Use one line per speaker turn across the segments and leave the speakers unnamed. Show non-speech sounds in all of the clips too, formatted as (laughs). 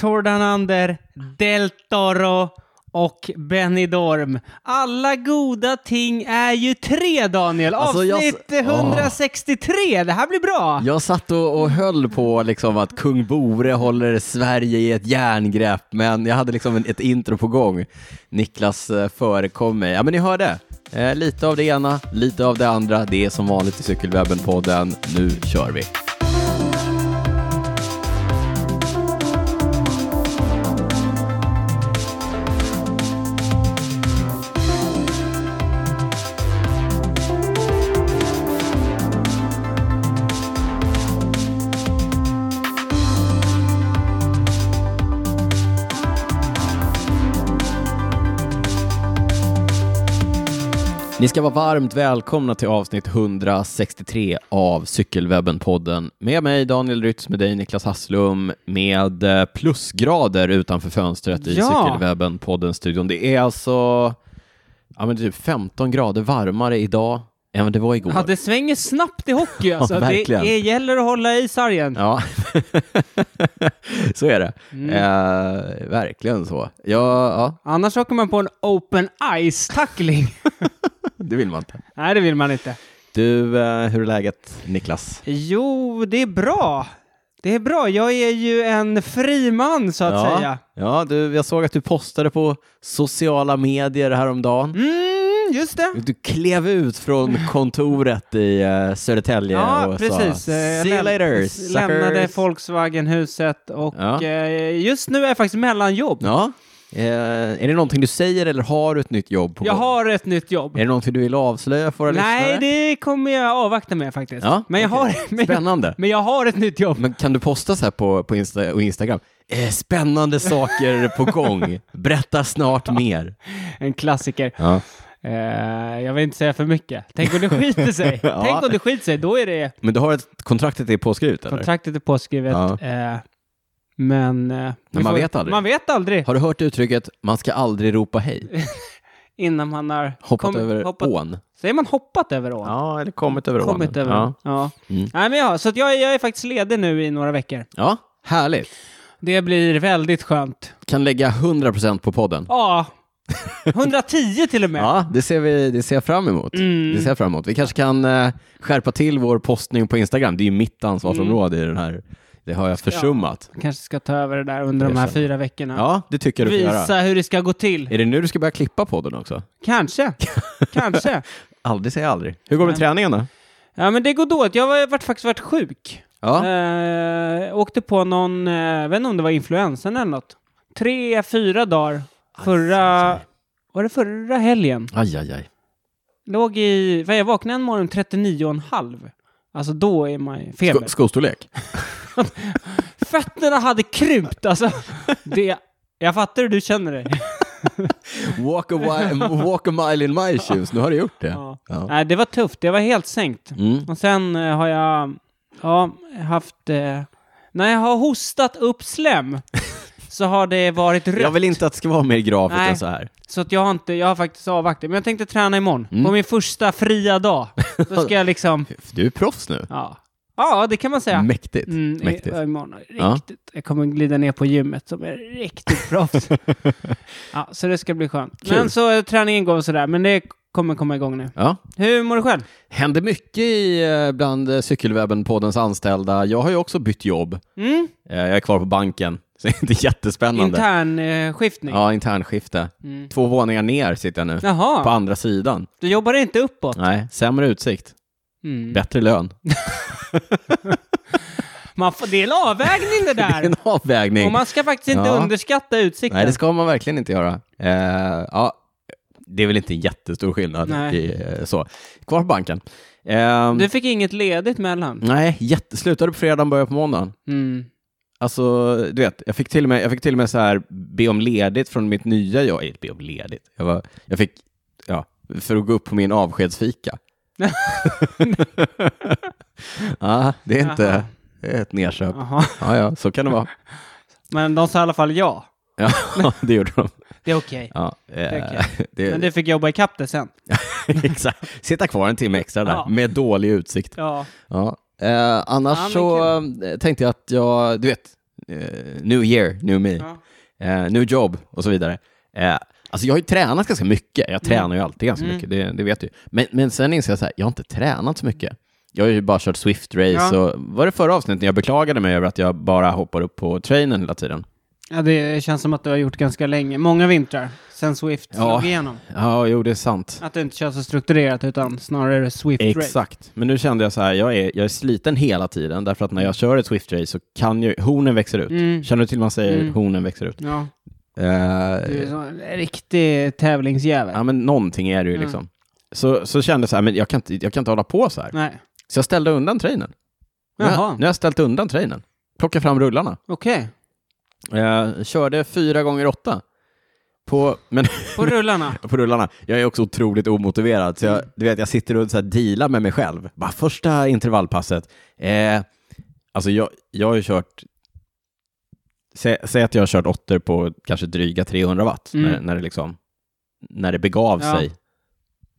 Tordanander, Del Toro och Benny Dorm. Alla goda ting är ju tre, Daniel.
Alltså, jag-
Avsnitt 163. Det här blir bra.
Jag satt och, och höll på liksom att kung Bore håller Sverige i ett järngrepp, men jag hade liksom en, ett intro på gång. Niklas eh, förekom mig. Ja, men ni hörde. Eh, lite av det ena, lite av det andra. Det är som vanligt i Cykelwebben-podden. Nu kör vi. Ni ska vara varmt välkomna till avsnitt 163 av Cykelwebben-podden. Med mig Daniel Rytz, med dig Niklas Hasslum, med eh, plusgrader utanför fönstret i
Ja.
Cykelwebben-podden-studion. Det är alltså ja, men typ 15 grader varmare idag än det var igår.
Ja, det svänger snabbt i hockey. Alltså.
Ja,
det
verkligen.
är, gäller att hålla i sargen.
Ja, (laughs) så är det.
Mm.
Eh, verkligen så. Ja, ja,
Annars åker man på en open ice-tackling.
(laughs) det vill man inte.
Nej, det vill man inte.
Du, eh, hur är läget Niklas?
Jo, det är bra. Det är bra. Jag är ju en fri man, så att
ja.
säga.
Ja, du, jag såg att du postade på sociala medier häromdagen.
Mm, just det.
Du klev ut från kontoret i eh, Södertälje
Ja,
och
precis.
sa
Eh, jag
“See you
läm-
later,
s- lämnade
suckers."
Volkswagenhuset och
Ja.
eh, just nu är jag faktiskt mellanjobb.
Ja. Eh, är det någonting du säger eller har du ett nytt jobb på
Jag
gång?
har ett nytt jobb.
Är det någonting du vill avslöja för våra
Nej,
lyssnare?
det kommer jag avvakta med faktiskt.
Ja,
men, jag
okej.
har, (laughs) men, jag,
Spännande.
men jag har ett nytt jobb.
Men kan du posta så här på, på Insta och Instagram? Eh, spännande saker
(laughs)
på gång. Berätta snart mer.
En klassiker.
Ja.
Eh, jag vill inte säga för mycket. Tänk om det skiter sig.
(laughs) Ja.
Tänk om det skiter sig. Då är det
Men du har ett kontraktet är påskrivet eller?
kontraktet är påskrivet.
Ja.
Eh, men... eh, vi
man vet aldrig.
Man vet aldrig.
Har du hört uttrycket man ska aldrig ropa hej?
Innan man har...
Hoppat
kommit-
över
hoppat,
ån?
Säger man hoppat över ån?
Ja, eller kommit över
Kommit över ån. Ja.
Mm.
Nej, men ja, så att jag, jag är faktiskt ledig nu i några veckor.
Ja, härligt.
Det blir väldigt skönt.
Kan lägga 100% på podden. (laughs)
Ja, 110 till och med.
Ja, det ser, vi, det ser jag fram emot.
Mm.
Det ser jag fram emot. Vi kanske kan eh, skärpa till vår postning på Instagram. Det är ju mitt
Mm.
ansvarsområde i den här. Det har jag försummat.
Kanske ska ta över det där under
Det
de här
känner jag.
fyra veckorna.
Ja, det tycker jag du får
Visa
göra.
hur det ska gå till.
Är det nu du ska börja klippa podden också? (laughs)
Kanske. Kanske.
Aldrig säger aldrig. Hur går det med träningen då?
Ja, men det går dåligt. Jag har varit, faktiskt varit sjuk.
Ja,
Eh, åkte på någon, eh, jag vet inte om det var influensan eller något. Tre, fyra dagar
aj,
förra,
aj.
var det förra helgen?
aj, aj, aj.
Låg i, vad jag vaknade en morgon 39,5. Alltså då är man ju feber.
Sko- skostorlek?
Fötterna hade krympt
(laughs)
alltså. Det, jag fattar hur du känner dig.
Walk a,
(laughs)
wi- walk a mile in my shoes. Nu har du gjort det.
Ja.
Ja.
Nej, det var tufft, det var helt sänkt.
Mm.
Och sen eh, har jag, ja, haft, eh, när jag har hostat upp
(laughs)
slem så har det varit rött.
Jag vill inte att det ska vara mer grafiskt
Nej.
än så här.
Så att jag har inte, jag har faktiskt avvaktat. Men jag tänkte träna imorgon.
Mm.
På min första fria dag. Då ska jag liksom,
(laughs) Du är proffs nu.
ja. Ja, det kan man säga.
Mäktigt.
Mm, i-
Mäktigt.
ja, imorgon.
Ja.
Riktigt. Jag kommer glida ner på gymmet som är riktigt
(laughs)
proffs. ja, så det ska bli skönt.
Kul.
Men så eh, träningen går sådär, men det kommer komma igång nu.
Ja.
Hur mår du själv?
Händer mycket i, eh, bland eh, Cykelwebben-poddens anställda. Jag har ju också bytt jobb.
Mm?
Eh, Jag är kvar på banken, (laughs) så det är inte jättespännande.
Intern eh, skiftning.
Ja, internskifte.
Mm.
Två våningar ner sitter jag nu, på
Jaha,
andra sidan.
du jobbar inte uppåt?
Nej, sämre utsikt,
Mm.
bättre lön. (laughs)
Man får, det är en avvägning det
(laughs) Det
där.
är en avvägning.
Och man ska faktiskt inte
Ja.
underskatta utsikten.
Nej, det ska man verkligen inte göra. Eh, ja, det är väl inte en jättestor skillnad.
Nej.
I, eh, så. Kvar på banken. Ehm,
Du fick inget ledigt mellan?
Nej, jätte... slutade på fredagen, började på måndagen.
Mm.
Alltså, du vet, jag fick till och med, jag fick till och med så här, be om ledigt från mitt nya jobb. Eh, Be om ledigt. Jag, var, jag fick, ja, för att gå upp på min avskedsfika. (laughs) ja, det är inte det är ett nedköp.
Jaha.
Ja, ja, så kan det vara.
Men de sa i alla fall ja.
Ja, (laughs) det gjorde de.
Det är okej.
Ja,
är
eh,
okej.
det,
Men du fick jobba ikapp det sen.
(laughs) exakt. Sitta kvar en timme extra där,
Ja.
med dålig utsikt.
Ja.
Ja. Eh, annars
Ja, men
så eh, tänkte jag att jag, du vet, eh, new year, new me,
Ja.
eh, new job och så vidare. Eh, alltså jag har ju tränat ganska mycket. Jag tränar ju alltid ganska
Mm.
mycket, det, det vet du. Men, men sen inser jag så här, jag har inte tränat så mycket. Jag har ju bara kört Swift-race
Ja.
och var det förra avsnittet när jag beklagade mig över att jag bara hoppar upp på trainen hela tiden?
Ja, det känns som att du har gjort ganska länge. Många vintrar sen Swift
Ja.
slog igenom.
Ja, jo det är sant.
Att du inte kör så strukturerat utan snarare Swift race.
Exakt, men nu kände jag så här, jag är, jag är sliten hela tiden därför att när jag kör ett Swift-race så kan ju, hornen växer ut.
Mm.
Känner du till man säger
Mm.
hornen växer ut?
Ja, du är
Eh,
så- en riktig tävlingsjävel.
ja men någonting är det ju
Mm.
liksom. Så, så kände jag så här, men jag kan, inte, jag kan inte hålla på så här.
Nej,
Så jag ställde undan trainen. Nu har-
Jaha.
Nu har jag ställt undan trainen. Plockat fram rullarna.
okej.
Eh, körde fyra gånger åtta. På, men
På
(laughs)
rullarna.
på rullarna. Jag är också otroligt omotiverad, så jag,
Mm.
du vet, jag sitter och så här dealar med mig själv. Bara första intervallpasset. Eh, alltså jag, jag har ju kört... Sä, säg att jag har kört åttor på kanske dryga 300 watt,
Mm.
när, när, det liksom, när det begav
Ja.
sig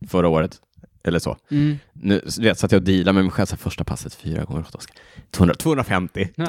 förra året. Eller så.
Mm.
Nu, så du vet, så att jag dealar med mig själv. Så här, första passet, fyra gånger åtta. ska- 200, (laughs) 250.
Ja.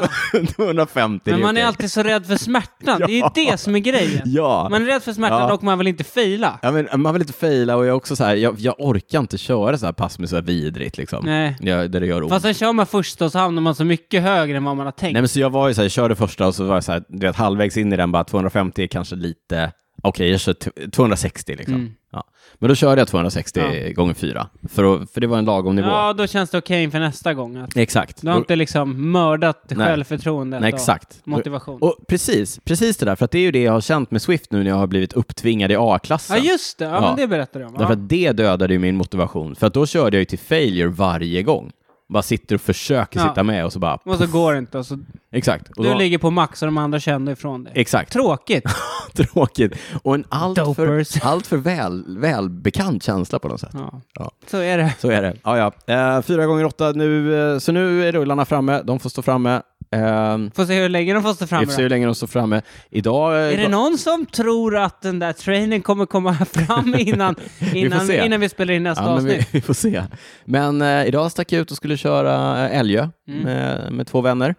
250. det
Men man är
okej.
alltid så rädd för smärtan. Det är ju
Ja.
det som är grejen.
Ja.
Man är rädd för smärtan
Ja.
och man vill inte fejla.
Ja, men eh, man vill inte fejla och jag är också så här, jag, jag orkar inte köra så här pass med så här vidrigt liksom.
Nej.
Jag, där det gör ont.
Fast sen kör man första och så hamnar man så mycket högre än vad man har tänkt.
Nej men så jag var ju så här, jag körde första och så var jag så här, du vet halvvägs in i den bara 250 är kanske lite, okej jag kör t- 260 liksom.
Mm.
Ja. Men då körde jag 260
Ja.
gånger 4, för, att- för det var en lagom nivå.
ja, då känns det okej inför nästa gång. Att
Exakt.
du har
Då-
inte liksom mördat självförtroendet
Nej,
och
exakt.
motivation.
Och precis, precis det där, för att det är ju det jag har känt med Swift nu när jag har blivit upptvingad i A-klassen.
ja, just det. Ja,
Ja.
Men det berättade jag om.
Därför
Ja.
att det dödade ju min motivation, för att då körde jag ju till failure varje gång. Bara sitter och försöker
Ja.
sitta med och så bara...
Och så går det inte. Och så
Exakt. Och
Du
då,
ligger på max och de andra känner ifrån dig.
Exakt. (laughs)
Tråkigt.
Tråkigt. Och en alltför (laughs)
Dopers.
allt för väl, välbekant känsla på något sätt.
Ja.
Ja.
Så är det.
Så är det. Ja, ja. Eh, fyra gånger åtta nu, eh, så nu är rullarna framme. De får stå framme. Eh,
Får se hur länge de får stå
vi
framme
får
då.
se hur länge de står framme. Idag... eh,
Är det någon som tror att den där trainen kommer komma (laughs) fram
(laughs)
innan, innan,
se.
innan vi spelar in nästa
Ja, men vi,
avsnitt?
(laughs) vi får se. Men eh, idag stack jag ut och skulle köra eh, Älgö
Mm.
med, med två vänner.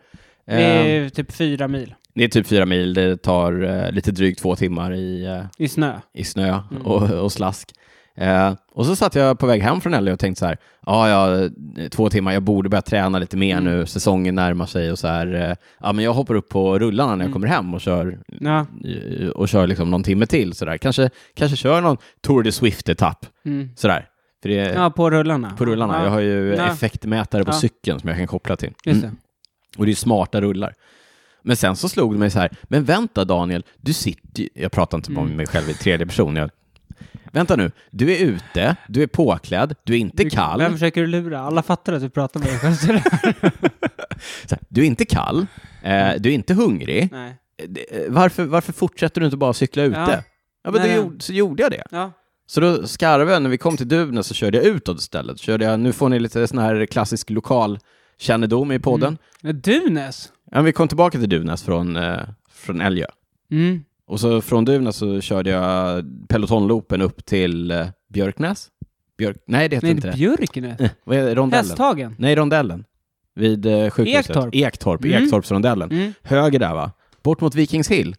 Eh,
Det är typ fyra mil
det är typ fyra mil. Det tar eh, lite drygt två timmar i, eh,
i snö.
i snö
Mm.
och, och slask. Eh, och så satt jag på väg hem från LA och tänkte så här, ja, ja, två timmar, jag borde börja träna lite mer
Mm.
nu, säsongen närmar sig och så här, eh, ja, men jag hoppar upp på rullarna
Mm.
när jag kommer hem och kör,
Ja.
eh, och kör liksom någon timme till så där. Kanske, kanske kör någon Tour de Swift-etapp
Mm.
så där. För det är
ja, på rullarna.
på rullarna.
Ja.
Jag har Mm. ju
Ja.
effektmätare på
Ja.
cykeln som jag kan koppla till.
Just det.
Och det är ju smarta rullar. Men sen så slog det mig så här, men vänta Daniel, du sitter ju- jag pratar inte om mig själv i tredje person, jag, vänta nu, du är ute, du är påklädd, du är inte kall,
Vem försöker du lura? Alla fattar att du pratar med dig själv. så det-
så här, du är inte kall, eh, du är inte hungrig,
Nej.
Eh, varför, varför fortsätter du inte bara cykla ute? Ja,
Ja.
men då
Nej.
gjorde, så gjorde jag det.
Ja.
Så då skarven, när vi kom till Duvnäs så körde jag utåt istället, körde jag, nu får ni lite sån här klassisk lokalkännedom i podden.
Dunes?
Ja, men vi kom tillbaka till Duvnäs från, eh, från Älgö.
Mm.
Och så från Duvnäs så körde jag pelotonloopen upp till eh, Björknäs. Björk... Nej, det heter
Nej,
inte det.
Björknäs?
(laughs) Eh, Vad är det? Rondellen?
Hästhagen?
Nej, rondellen. Vid eh, sjukhuset.
Ektorp.
Ektorp,
Mm.
Ektorpsrondellen.
Mm.
Höger där, va? Bort mot Vikingshill.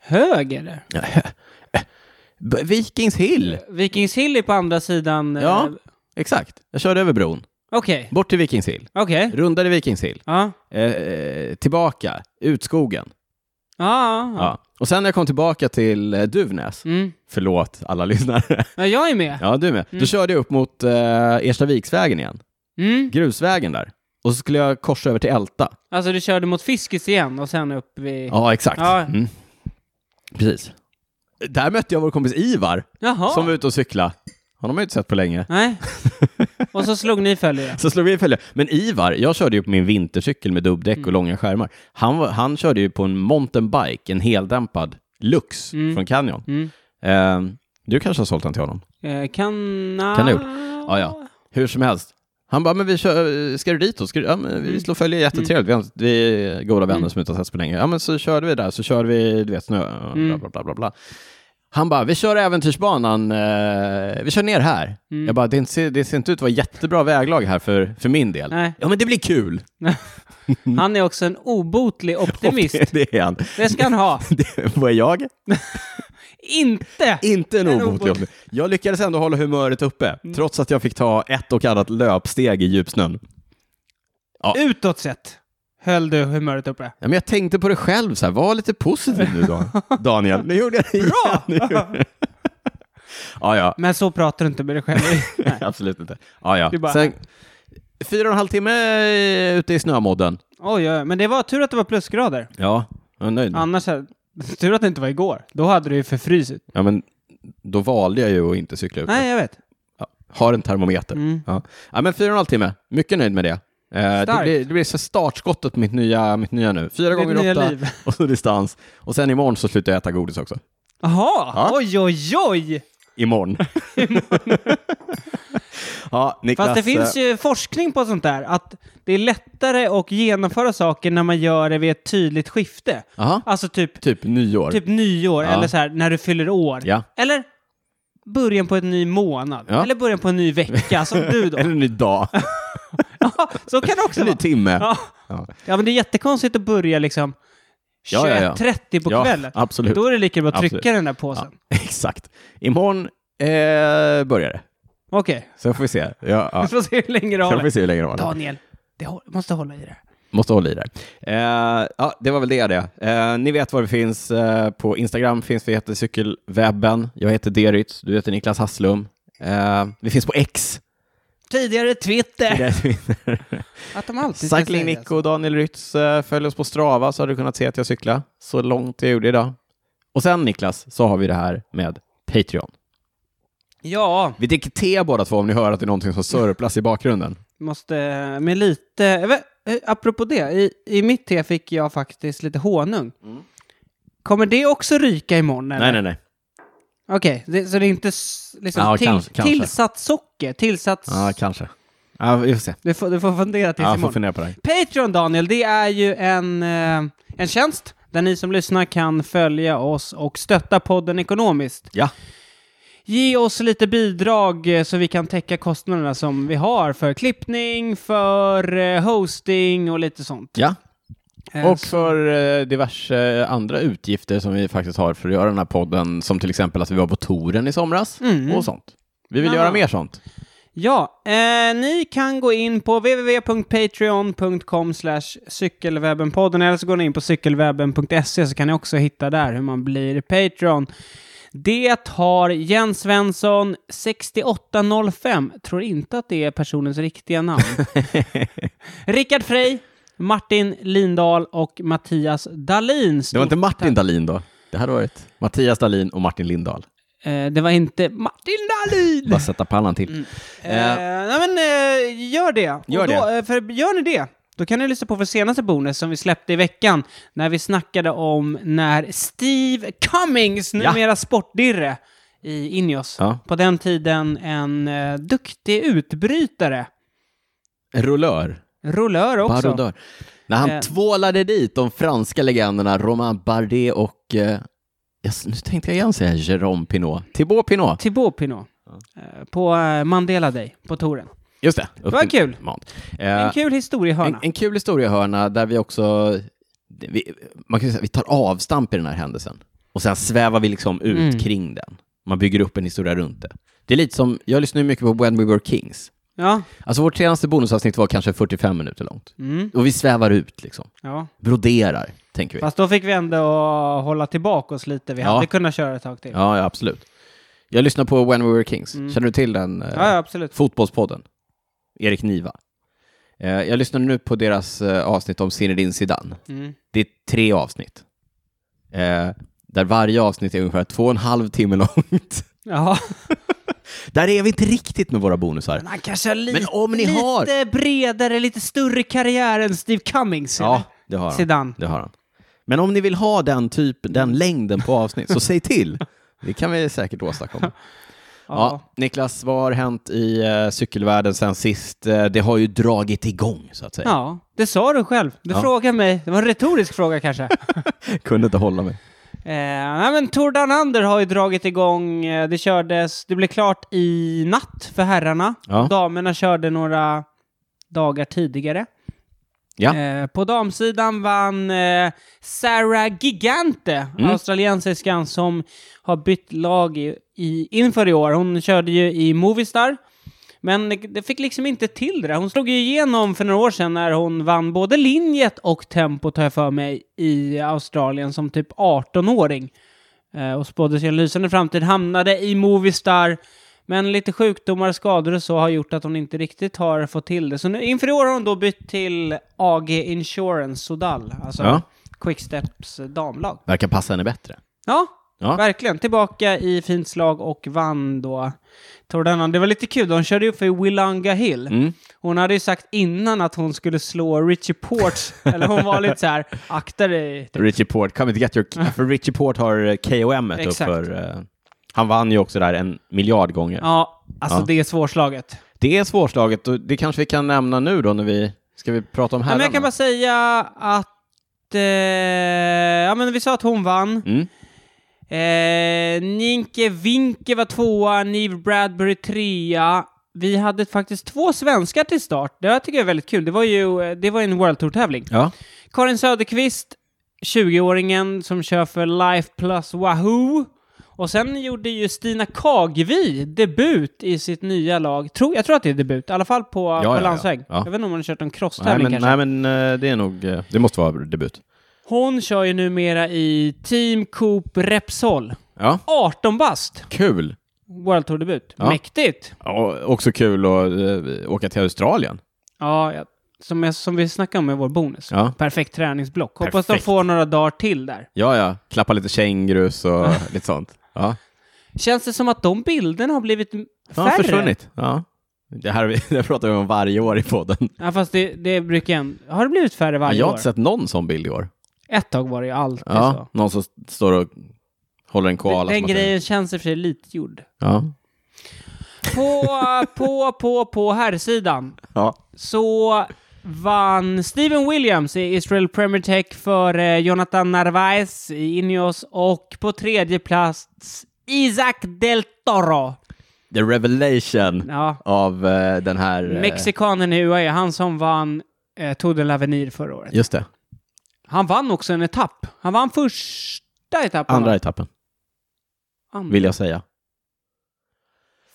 Höger? där.
B- Vikingshill!
Vikingshill är på andra sidan. eh,
Ja. Exakt. Jag körde över bron.
Okej.
Bort till Vikingshill.
Okej.
Rundade Vikingshill.
Ja.
Eh, eh, tillbaka. Ut skogen.
Ja, ja, ja.
Ja. Och sen när jag kom tillbaka till eh, Duvnäs.
Mm.
Förlåt
(laughs)
alla lyssnare.
ja, jag är med.
Ja, du med. Då körde jag upp mot eh, Erstaviksvägen igen.
Mm.
grusvägen där. Och så skulle jag korsa över till Älta.
Alltså du körde mot Fiskis igen och sen upp vid...
Ja, exakt.
Ja.
Mm. Precis. Där mötte jag vår kompis Ivar,
Jaha.
som var ute och cykla. Honom har jag inte sett på länge. (laughs)
Nej. Och så slog ni följe.
Så slog vi i följe. Men Ivar, jag körde ju på min vintercykel med dubbdäck
Mm.
och långa skärmar. Han, var, han körde ju på en mountainbike, en heldämpad Lux
Mm.
från Canyon.
Mm.
Ehm, du kanske har sålt den till honom?
Eh, kan...
Kan ha gjort. Ja, ja. Hur som helst. Han bara, men vi kör, ska du dit då? Ska du, ja, men vi slår följe, jättetrevligt. Vi har- Vi är goda vänner som inte har setts på länge. Ja, men så körde vi där, så körde vi, du vet, snö, bla, bla, bla, bla, bla. Han bara, vi kör äventyrsbanan, eh, vi kör ner här. Jag bara, det, inte, det ser inte ut att vara jättebra väglag här för, för min del.
Nej.
Ja, men det blir kul.
Han är också en obotlig optimist.
Det, det är han.
Det ska han ha.
Det, vad är jag? (laughs)
Inte!
Inte en
En
obotlig
obotlig.
optimist. Jag lyckades ändå hålla humöret uppe, trots att jag fick ta ett och annat löpsteg i djupsnön.
Utåt sett höll du humöret uppe.
Ja, men jag tänkte på det själv, så här, var lite positiv
(laughs)
nu då, Daniel. Nu gjorde jag det igen. Nu gjorde jag det. ja, ja,
Men så pratar du inte med dig
(laughs)
själv. Nej.
absolut inte. Ja, ja.
Det är bara-
Sen, fyra och en halv timme eh, ute i snömodden.
Oj, oj, men det var tur att det var plusgrader.
Ja, jag är nöjd.
Mm. Annars, hade- (laughs) tur att det inte var igår. Då hade det ju förfrysit.
Ja, men då valde jag ju att inte cykla ut.
Nej, jag vet.
Ja, har en termometer.
Mm.
Ja. ja, men fyra och en halv timme. Mycket nöjd med det. Eh, det,
Starkt.
blir, det blir så startskottet på mitt nya, mitt nya nu. Fyra
Ditt
gånger
nya
åtta
liv.
(laughs) och så distans. Och sen imorgon så slutar jag äta godis också.
Jaha,
Ja.
oj, oj, oj!
Imorgon. (laughs) ja, Niklas,
Fast
eh,
det finns ju forskning på sånt där, att det är lättare att genomföra saker när man gör det vid ett tydligt skifte.
eh, aha,
Alltså typ,
typ nyår.
typ nyår,
Ja.
eller så här när du fyller år.
Ja.
Eller början på en ny månad.
Ja.
Eller början på en ny vecka, som du då.
Eller (laughs) en
(laughs)
ny dag.
Ja, så kan det också
en ny
vara.
timme.
Ja.
Ja.
ja, men det är jättekonstigt att börja liksom
Ja, ja, ja.
21.30 på
Ja,
kvällen.
absolut.
Då är det lika bra att trycka
Absolut.
den där påsen.
Exakt. Imorgon eh, börjar det.
Okej,
Så får vi se. Ja, ja.
vi får se hur länge det
Så får
håller.
vi se hur länge det håller.
Daniel, det hå- måste hålla i det.
Måste hålla i det. Eh, ja, det var väl det det. Eh, ni vet var vi finns. Eh, på Instagram finns vi, heter Cykelwebben. Jag heter Derytz, du heter Niklas Hasslum. Eh, vi finns på X.
Tidigare Twitter.
Där (laughs) vi-
Att de alltid ska
Cycling
säga
Nico
så.
och Daniel Rytz. Eh, följ oss på Strava så har du kunnat se att jag cyklar så långt jag gjorde idag. Och sen Niklas, så har vi det här med Patreon.
Ja,
Vi dricker te båda två om ni hör att det är någonting som sörplas i bakgrunden.
måste med lite... jag vet- eh, Apropå det, i, i mitt te fick jag faktiskt lite honung. Kommer det också ryka imorgon? Eller?
Mm. Nej, nej, nej.
Okej, det- så det är inte s- liksom
Ja,
till,
kanske, kanske.
tillsatt socker, tillsatt...
Ja, kanske. Ja, vi får se.
du, får, du får fundera tills
Ja, jag får
imorgon.
fundera på det. här.
Patreon Daniel, det är ju en, eh, en tjänst där ni som lyssnar kan följa oss och stötta podden ekonomiskt.
Ja.
Ge oss lite bidrag eh, så vi kan täcka kostnaderna som vi har för klippning, för eh, hosting och lite sånt.
Ja,
Eh,
Och
så-
för eh, diverse eh, andra utgifter som vi faktiskt har för att göra den här podden, som till exempel att vi var på touren i somras
Mm.
och sånt. Vi vill
Ja.
göra mer sånt.
Ja, eh, ni kan gå in på www.patreon.com cykelwebbenpodden eller så går ni in på cykelwebben.se så kan ni också hitta där hur man blir Patreon. Det har Jens Svensson 6805, tror inte att det är personens riktiga
(laughs)
namn. Rickard Frey, Martin Lindahl och Mattias Dahlin.
Det var inte Martin Dahlin då? Det hade varit Mattias Dahlin och Martin Lindahl.
eh, det var inte Martin Dahlin!
Bara sätta pannan till.
Eh, nej men eh, gör det. Och
Gör
då,
det.
eh, För gör ni det, då kan ni lyssna på vår senaste bonus som vi släppte i veckan. När vi snackade om när Steve Cummings, numera sportdirre i Ineos,
Ja.
på den tiden en eh, duktig utbrytare,
Rullör.
rullör också.
Barodör. När han
Eh.
tvålade dit de franska legenderna Romain Bardet och, eh, jag, nu tänkte jag igen säga Jérôme Pinot. Thibaut Pinot.
Thibaut Pinot. eh, På eh, Mandela Day, på touren.
Just det. Upp
var
till
kul.
Mount.
En
Eh,
kul
En,
historiehörna.
en kul historiehörna där vi också, det- vi, man kan ju säga, vi tar avstamp i den här händelsen och sen svävar vi liksom ut
Mm.
kring den. Man bygger upp en historia runt det. Det är lite som, jag lyssnar ju mycket på When We Were Kings.
Ja.
Alltså vårt senaste bonusavsnitt var kanske 45 minuter långt.
Mm.
Och vi svävar ut liksom,
ja.
broderar, tänker vi.
Fast då fick vi ändå hålla tillbaka oss lite. Vi
Ja.
hade kunnat köra ett tag till.
Ja, ja, absolut. Jag lyssnar på When We Were Kings, känner du till den? eh,
Mm. ja ja, absolut.
Fotbollspodden, Erik Niva. Eh, Jag lyssnar nu på deras eh, avsnitt om Zinedine Zidane.
Mm.
Det är tre avsnitt. Eh, där varje avsnitt är ungefär två och en halv timme (laughs) långt.
Ja,
Där är vi inte riktigt med våra bonusar.
men han kanske har lite,
Men om ni
lite
har-
bredare, lite större karriär än Steve Cummings.
Ja, det har
eller?
han.
Zidane. Mm.
Det har han. Men om ni vill ha den typen, den längden på avsnitt, så säg till. Det kan vi säkert åstadkomma. Ja,
Ja.
Niklas, vad har hänt i eh, cykelvärlden sen sist? Eh, det har ju dragit igång, så att säga.
ja, det sa du själv. Du
Ja.
frågade mig. Det var en retorisk fråga
(laughs)
kanske.
Kunde inte hålla mig.
Eh, nej, men Tour Down Under har ju dragit igång. Eh, Det kördes, det blev klart i natt för herrarna.
Ja.
Damerna körde några dagar tidigare.
Ja.
Eh, på damsidan vann eh, Sarah Gigante,
Mm.
australiensiskan som har bytt lag i, i, inför i år. Hon körde ju i Movistar. Men det- det fick liksom inte till det. där. Hon slog ju igenom för några år sedan när hon vann både linjet och tempot, har jag för mig, i Australien som typ 18-åring. Eh, och spådde sig en lysande framtid. Hamnade i Movistar. Men lite sjukdomar, skador och så har gjort att hon inte riktigt har fått till det. Så nu, inför i år har hon då bytt till AG Insurance Sodal, alltså
Ja.
Quicksteps eh, damlag.
Verkar passa henne bättre.
Ja,
Ja.
verkligen. Tillbaka i fint slag och vann då Tour Det var lite kul, hon körde ju upp för Willanga Hill.
Mm.
Hon hade ju sagt innan att hon skulle slå Richie
(laughs)
Ports, eller hon var lite så här, akta dig.
Richie Port, come and get your... (laughs) För Richie Port har eh, KOM et
Exakt.
uppför. eh, Han vann ju också där en miljard gånger.
Ja, alltså
Ja.
det är svårslaget.
Det är svårslaget och det kanske vi kan nämna nu då när vi... Ska vi prata om
Ja, men
herrarna?
jag kan bara säga att, eh, ja men vi sa att hon vann.
mm.
Eh, Ninke Winke var tvåa, Neve Bradbury trea. Vi hade faktiskt två svenskar till start. Det här tycker jag är väldigt kul. Det var ju eh, det var ju en World Tour-tävling.
Ja.
Karin Söderqvist, 20-åringen som kör för Life Plus Wahoo. Och sen gjorde ju Stina Kagvi debut i sitt nya lag. Tror, jag tror att det är debut, i alla fall på,
ja, ja.
på landsväg.
Ja.
Jag vet inte om hon har kört en
Nej,
crosstävling
men,
kanske.
nej, men eh, det är nog... eh, Det måste vara debut.
Hon kör ju numera i Team Coop Repsol.
Ja.
18 bast,
Kul!
World Tour-debut.
Ja.
Mäktigt!
Ja, också kul att eh, åka till Australien.
Ja, ja. Som, jag, som vi snackade om med vår bonus.
Ja.
Perfekt träningsblock. Hoppas de
Perfekt.
får några dagar till där.
Ja, ja. Klappa lite kängurus (laughs) och lite sånt. Ja.
Känns det som att de bilderna har blivit m-
De har
färre?
försvunnit. Ja. Det här (laughs) har vi- det här pratar vi om varje år i podden.
Ja, fast det, det brukar en... Har det blivit färre
Ja,
varje
jag har
år?
inte sett någon sån bild i år.
Ett tag var det ju alltid
Ja, någon som st- står och håller en
så.
koala.
Den
som att-
grejen känns i och för sig lite gjord.
Ja.
På, (laughs) på, på, på här sidan
ja.
så vann Steven Williams i Israel Premier Tech för eh, Jonathan Narvaez i Ineos och på tredje plats Isaac Del Toro.
The revelation
Ja,
av eh, den här... eh,
Mexikanen i UAE, han som vann eh, Tour de l'Avenir förra året.
eh, Just det.
Han vann också en etapp. Han vann första etappen.
Andra
va?
etappen,
Andra.
vill jag säga.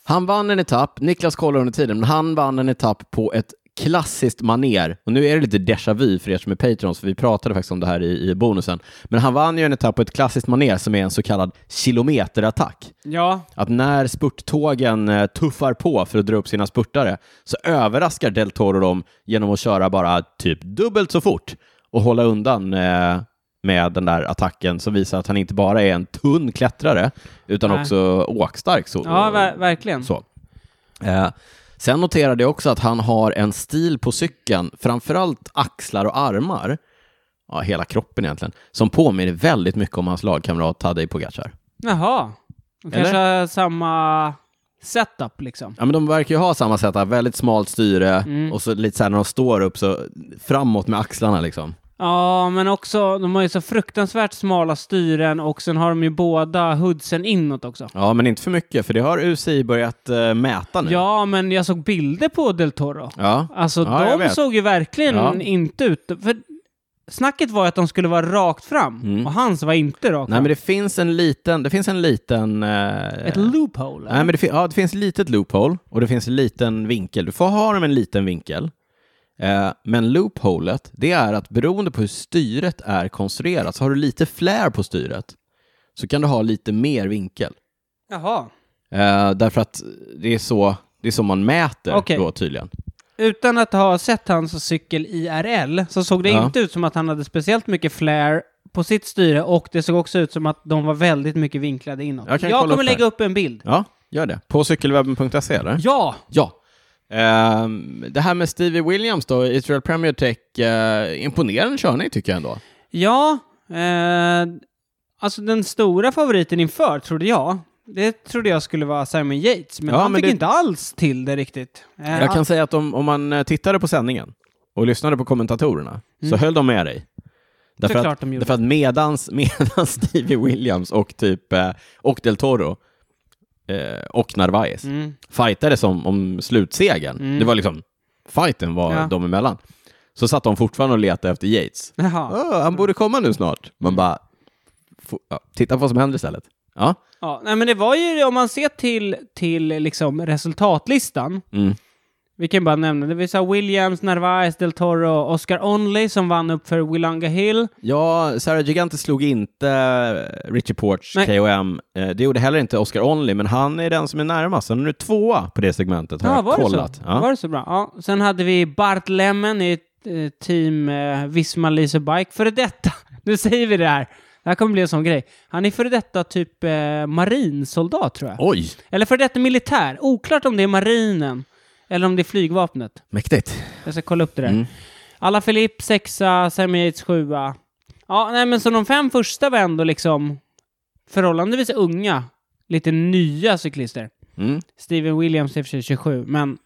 Han vann en etapp, Niklas kollar under tiden, men han vann en etapp på ett klassiskt maner. Och nu är det lite déjà vu för er som är patrons, för vi pratade faktiskt om det här i, i bonusen. Men han vann ju en etapp på ett klassiskt maner som är en så kallad kilometerattack.
Ja,
att när spurttågen eh, tuffar på för att dra upp sina spurtare så överraskar Del Toro dem genom att köra bara typ dubbelt så fort och hålla undan eh, med den där attacken som visar att han inte bara är en tunn klättrare utan
Nej.
också åkstark. Så,
ja ver- verkligen.
så. Eh, sen noterade jag också att han har en stil på cykeln, framförallt axlar och armar, ja, hela kroppen egentligen, som påminner väldigt mycket om hans lagkamrat Tadej Pogacar.
Jaha. De kanske har samma setup liksom.
Ja, men de verkar ju ha samma sätt, här, väldigt smalt styre
Mm.
och så lite så här när de står upp så framåt med axlarna liksom.
Ja, men också, de har ju så fruktansvärt smala styren och sen har de ju båda hoodsen inåt också.
Ja, men inte för mycket, för det har UCI börjat eh, mäta nu.
Ja, men jag såg bilder på Del Toro.
Ja.
Alltså,
Ja, jag
de
vet.
såg ju verkligen
Ja.
inte ut... För snacket var ju att de skulle vara rakt fram,
Mm.
och hans var inte rakt
Nej,
fram.
men det finns en liten, det finns en liten... eh,
Ett loophole?
Nej, men det, fin- ja, det finns ett litet loophole och det finns en liten vinkel. Du får ha dem en liten vinkel. Eh, men loopholet, det är att beroende på hur styret är konstruerat, så har du lite flär på styret, så kan du ha lite mer vinkel.
Jaha.
Eh, därför att det är så, det är så man mäter
Okej.
då tydligen.
Utan att ha sett hans cykel IRL så såg det
Ja.
inte ut som att han hade speciellt mycket flair på sitt styre och det såg också ut som att de var väldigt mycket vinklade inåt.
Jag kan kolla
kommer
upp
lägga
här.
upp en bild.
Ja, gör det. På cykelwebben.se eller?
Ja!
Ja. Ehm, det här med Stevie Williams då, Israel Premier Tech, eh, imponerande körning tycker jag ändå.
Ja, eh, alltså den stora favoriten inför trodde jag, det trodde jag skulle vara Simon Yates, men
Ja,
han
men
fick
det-
inte alls till det riktigt. Eh,
Jag kan säga att om, om man eh, tittade på sändningen och lyssnade på kommentatorerna så höll de med dig. Därför
Mm. Såklart
att,
de gjorde.
därför att medans, (laughs) medans Stevie Williams och typ eh, och Del Toro eh, och Narvaez
Mm.
fightade som om slutsegern. Det var liksom, fighten var
Ja.
dem emellan. Så satt de fortfarande och letade efter Yates.
Jaha.
"Åh, han borde komma nu snart. Man
Mm.
bara, "Fo- ja, titta på vad som händer istället. Ja,
Ja, nej, men det var ju, om man ser till, till liksom resultatlistan,
mm.
vi kan bara nämna, det vill säga Williams, Narvaez, Del Toro, Oscar Onley som vann upp för Willanga Hill.
ja Sarah Gigante slog inte eh, Richie Porch,
Nej.
KOM. Eh, Det gjorde heller inte Oscar Only, men han är den som är närmast. Han är nu tvåa på det segmentet, har
Ja,
jag
var
kollat.
det så?
Ja.
Var det så bra? Ja. Sen hade vi Bart Lemmen i ett eh, team eh, Visma Lise Bike. Före detta, (laughs) nu säger vi det här, det här kommer bli en sån grej. Han är före detta typ eh, marinsoldat tror jag.
Oj,
Eller före detta militär. Oklart om det är marinen eller om det är flygvapnet.
mäktigt.
Jag ska kolla upp det där.
Mm.
Alla Filipp sexa, Sammy Yates sjua. Ja, nej men så de fem första var ändå liksom förhållandevis unga, lite nya cyklister.
Mm.
Steven Williams är i och för sig 27, men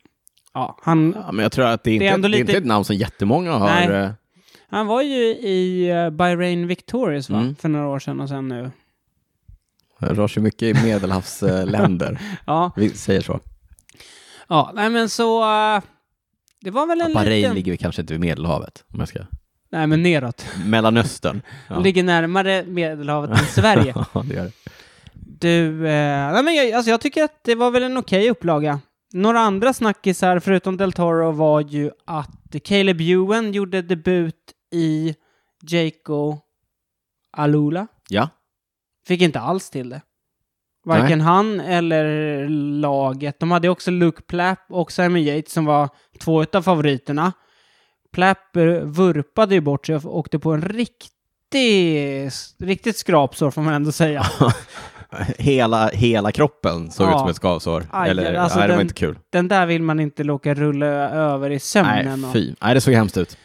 ja, han,
Ja, men jag tror att det, är inte, det, är
ändå lite-
inte ett namn som jättemånga har.
Nej.
eh,
han var ju i eh, Bahrain Victorious va?
Mm.
för några år sedan och sen nu.
Det rör sig mycket i medelhavsländer.
(laughs) Ja,
Vi säger så.
ja nej men så eh, det var väl en
Bahrain
liten...
ligger vi kanske inte vid Medelhavet, om jag ska...
Nej men neråt.
Mellanöstern.
(laughs)
Ja.
Ligger närmare Medelhavet än
(laughs)
Sverige.
Ja, det gör det.
Du, eh, nej men jag, alltså jag tycker att det var väl en okej upplaga. Några andra snackisar förutom Del Toro var ju att Caleb Ewan gjorde debut i Jaco Alula.
Ja. (laughs)
Fick inte alls till det. Varken han eller laget. De hade också Luke Plapp och Simon Yates som var två av favoriterna. Plapp eh, vurpade ju bort sig och åkte på en riktig, riktigt skrapsår får man ändå säga.
Hela, hela kroppen såg
Ja.
ut som ett skavsår.
Aj,
Eller,
alltså
nej, det var
den-
inte kul.
Den där vill man inte låta rulla över i sömnen.
Nej, fy. Nej, det såg hemskt ut.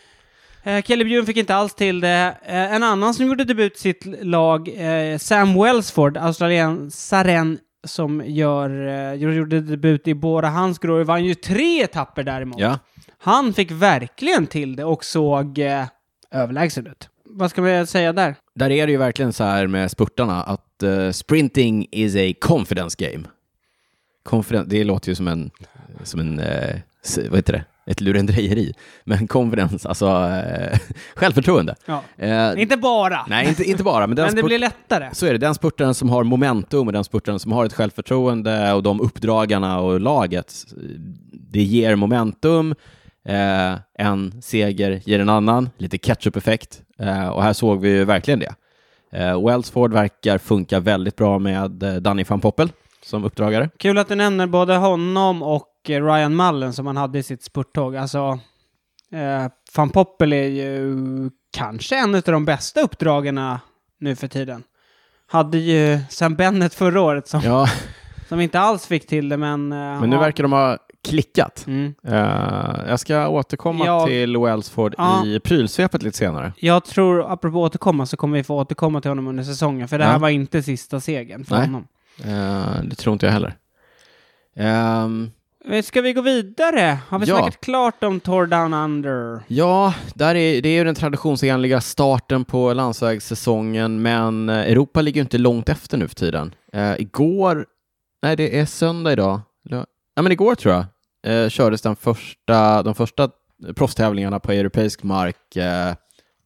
Och, eh, Kelly Bjurn fick inte alls till det. Eh, en annan som gjorde debut i sitt lag, eh, Sam Wellsford, australiensaren som gör, eh, gjorde debut i båda hans grår, vann ju tre etapper däremot.
Ja.
Han fick verkligen till det och såg eh, överlägsen ut. Vad ska man säga där?
Där är det ju verkligen så här med spurtarna att eh, sprinting is a confidence game. Confidence, det låter ju som en, som en eh, s- vad heter det, ett lurendrejeri. Men confidence, alltså eh, (laughs) självförtroende.
Ja.
Eh,
Inte bara,
Nej, inte, inte bara, men den
men det
spurt-
blir lättare.
så är det. Den spurtaren som har momentum och den spurtaren som har ett självförtroende och de uppdragarna och laget, det ger momentum. Eh, en seger ger en annan, lite catch-up-effekt. Eh, och här såg vi ju verkligen det. Eh, Wellsford verkar funka väldigt bra med eh, Danny van Poppel
(laughs)
som uppdragare.
Kul att du nämner både honom och eh, Ryan Mullen som han hade i sitt spurttåg. Alltså, eh, van Poppel är ju kanske en av de bästa uppdragarna nu för tiden. Hade ju Sam Bennett förra året som,
Ja,
som inte alls fick till det, men... eh,
men nu
ja.
verkar de ha klickat.
Mm.
Eh, jag ska återkomma
Ja.
till Wellsford
Ja.
i prylsvepet lite senare.
Jag tror, apropå återkomma, så kommer vi få återkomma till honom under säsongen, för det här
Ja.
var inte sista segern för
Nej.
honom.
Eh, det tror inte jag heller. Ehm,
Men Eh, Ska vi gå vidare? Har vi
Ja.
snackat klart om Tour Down Under?
Ja, där är, det är ju den traditionsenliga starten på landsvägssäsongen, men eh, Europa ligger ju inte långt efter nu för tiden. Eh, igår, nej det är söndag idag, Lö- ja men igår tror jag, eh, kördes den första, de första proffstävlingarna på europeisk mark, eh,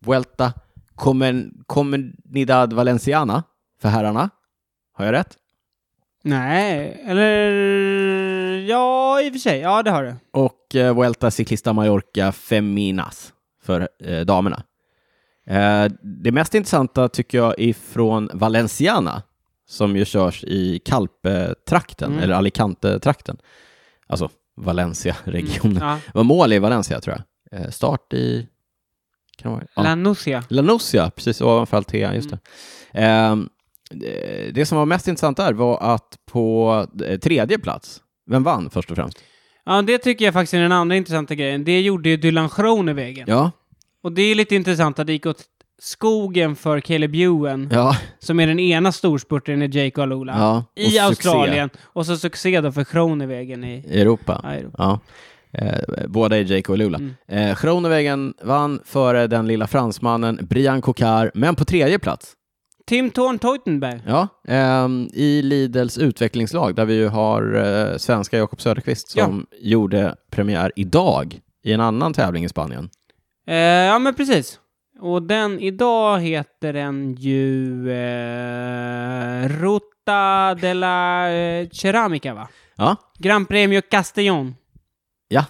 Vuelta Comen- Comunidad Valenciana för herrarna. Har jag rätt?
Nej, eller... Ja, i och för sig. Ja, det har du.
och eh, Vuelta Ciclista Mallorca Feminas för eh, damerna. Eh, det mest intressanta tycker jag är från Valenciana som ju körs i Calpe-trakten,
Mm.
eller Alicante-trakten. Alltså Valencia-regionen.
Mm. Ja.
Det var mål i Valencia tror jag. Eh, start i... Kan det vara? Ja.
La Nucia.
Lanusia, precis ovanför Altea, just det.
Mm.
Ehm, eh, det som var mest intressant där var att på eh, tredje plats, vem vann först och främst?
Ja, det tycker jag faktiskt är den andra intressanta grejen. Det gjorde ju Dylan Groenewegen.
Ja,
Och det är lite intressant att det gick åt skogen för Caleb Ewan,
(laughs) ja,
som är den ena storspurten i Jake Alula,
ja.
i
Och succé.
Australien. Och så succé då för Groenewegen i
I Europa.
Airo.
Ja. Eh, båda är Jake och Lula.
Mm.
Eh, Groenewegen vann före den lilla fransmannen Brian Cocard, men på tredje plats.
Tim Thorn Teutenberg.
Ja, ehm, I Lidls utvecklingslag, där vi ju har eh, svenska Jakob Söderqvist som gjorde premiär idag i en annan tävling i Spanien.
Eh, ja, men precis. Och den, idag heter den ju eh, Ruta de la eh, Ceramica, va?
Ja.
Gran Premio Castellón.
Ja.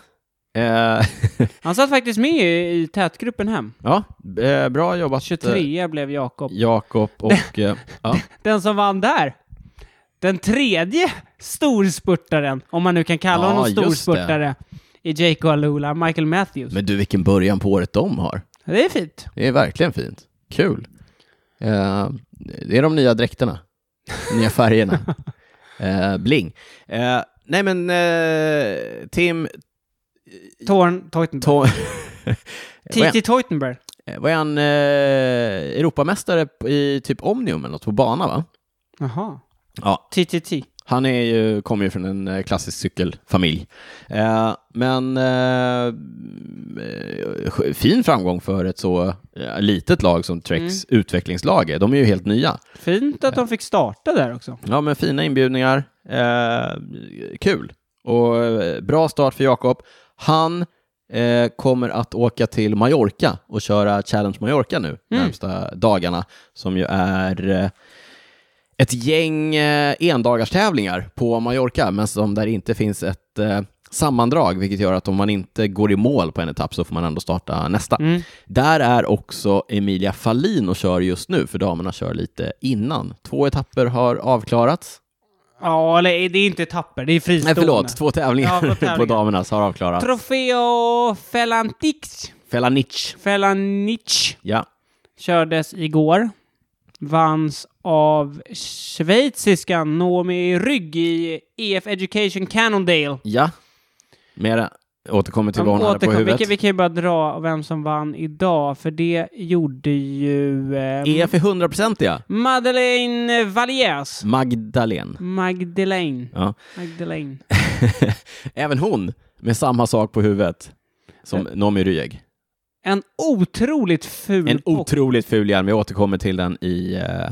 Eh, (laughs)
Han satt faktiskt med i, i tätgruppen hem.
ja, eh, bra jobbat. eh,
23 blev Jakob.
Jakob
(laughs)
och... eh, ja.
Den som vann där. Den tredje storspurtaren, om man nu kan kalla
Ja,
honom
just det.
storspurtare, i Jake Alula, Michael Matthews.
Men du, vilken början på året de har.
Det är fint.
Det är verkligen fint. Kul. Eh, det är de nya dräkterna. Nya färgerna. Eh, bling. Eh, nej, men eh, Tim...
Torn, Teutenberg.
(laughs) To- vad är-
T.T. Teutenberg.
Eh, Var han eh, Europamästare p- i typ Omnium eller något på bana va?
Jaha.
Ja.
TTT.
Han är ju, kommer ju från en eh, klassisk cykelfamilj. Eh, men eh, eh, fin framgång för ett så eh, litet lag som Treks utvecklingslag är. De är ju helt nya.
Fint att de fick starta där också.
Ja, men fina inbjudningar. Eh, kul. Och eh, bra start för Jakob. Han eh, kommer att åka till Mallorca och köra Challenge Mallorca nu, närmsta dagarna, som ju är eh, ett gäng eh, endagarstävlingar på Mallorca, men som där inte finns ett eh, sammandrag, vilket gör att om man inte går i mål på en etapp så får man ändå starta nästa.
Mm.
Där är också Emilia Fallin och kör just nu, för damerna kör lite innan. Två etapper har avklarats.
Ja, eller det är inte etapper, det är
Nej,
fristående.
förlåt, två
Ja,
tävlingar,
två tävlingar.
(laughs) på damernas har avklarats.
Trofeo Felantix.
Felanic.
Felanic
Ja.
kördes igår. Vanns av schweiziska Naomi Rygg i EF Education Cannondale.
Ja. Mera återkommer till vad hon
De
hade på
återkom- vi,
huvudet.
kan- vi kan ju bara dra vem som vann idag, för det gjorde ju eh,
EF är E hundraprocentiga.
Madeleine Valiers.
Magdalene.
Magdalene.
Ja. (laughs)
Magdalene.
Även hon med samma sak på huvudet som Noomi Ryeg.
En otroligt ful
En
och
otroligt ful hjälm. Jag återkommer till den i, eh,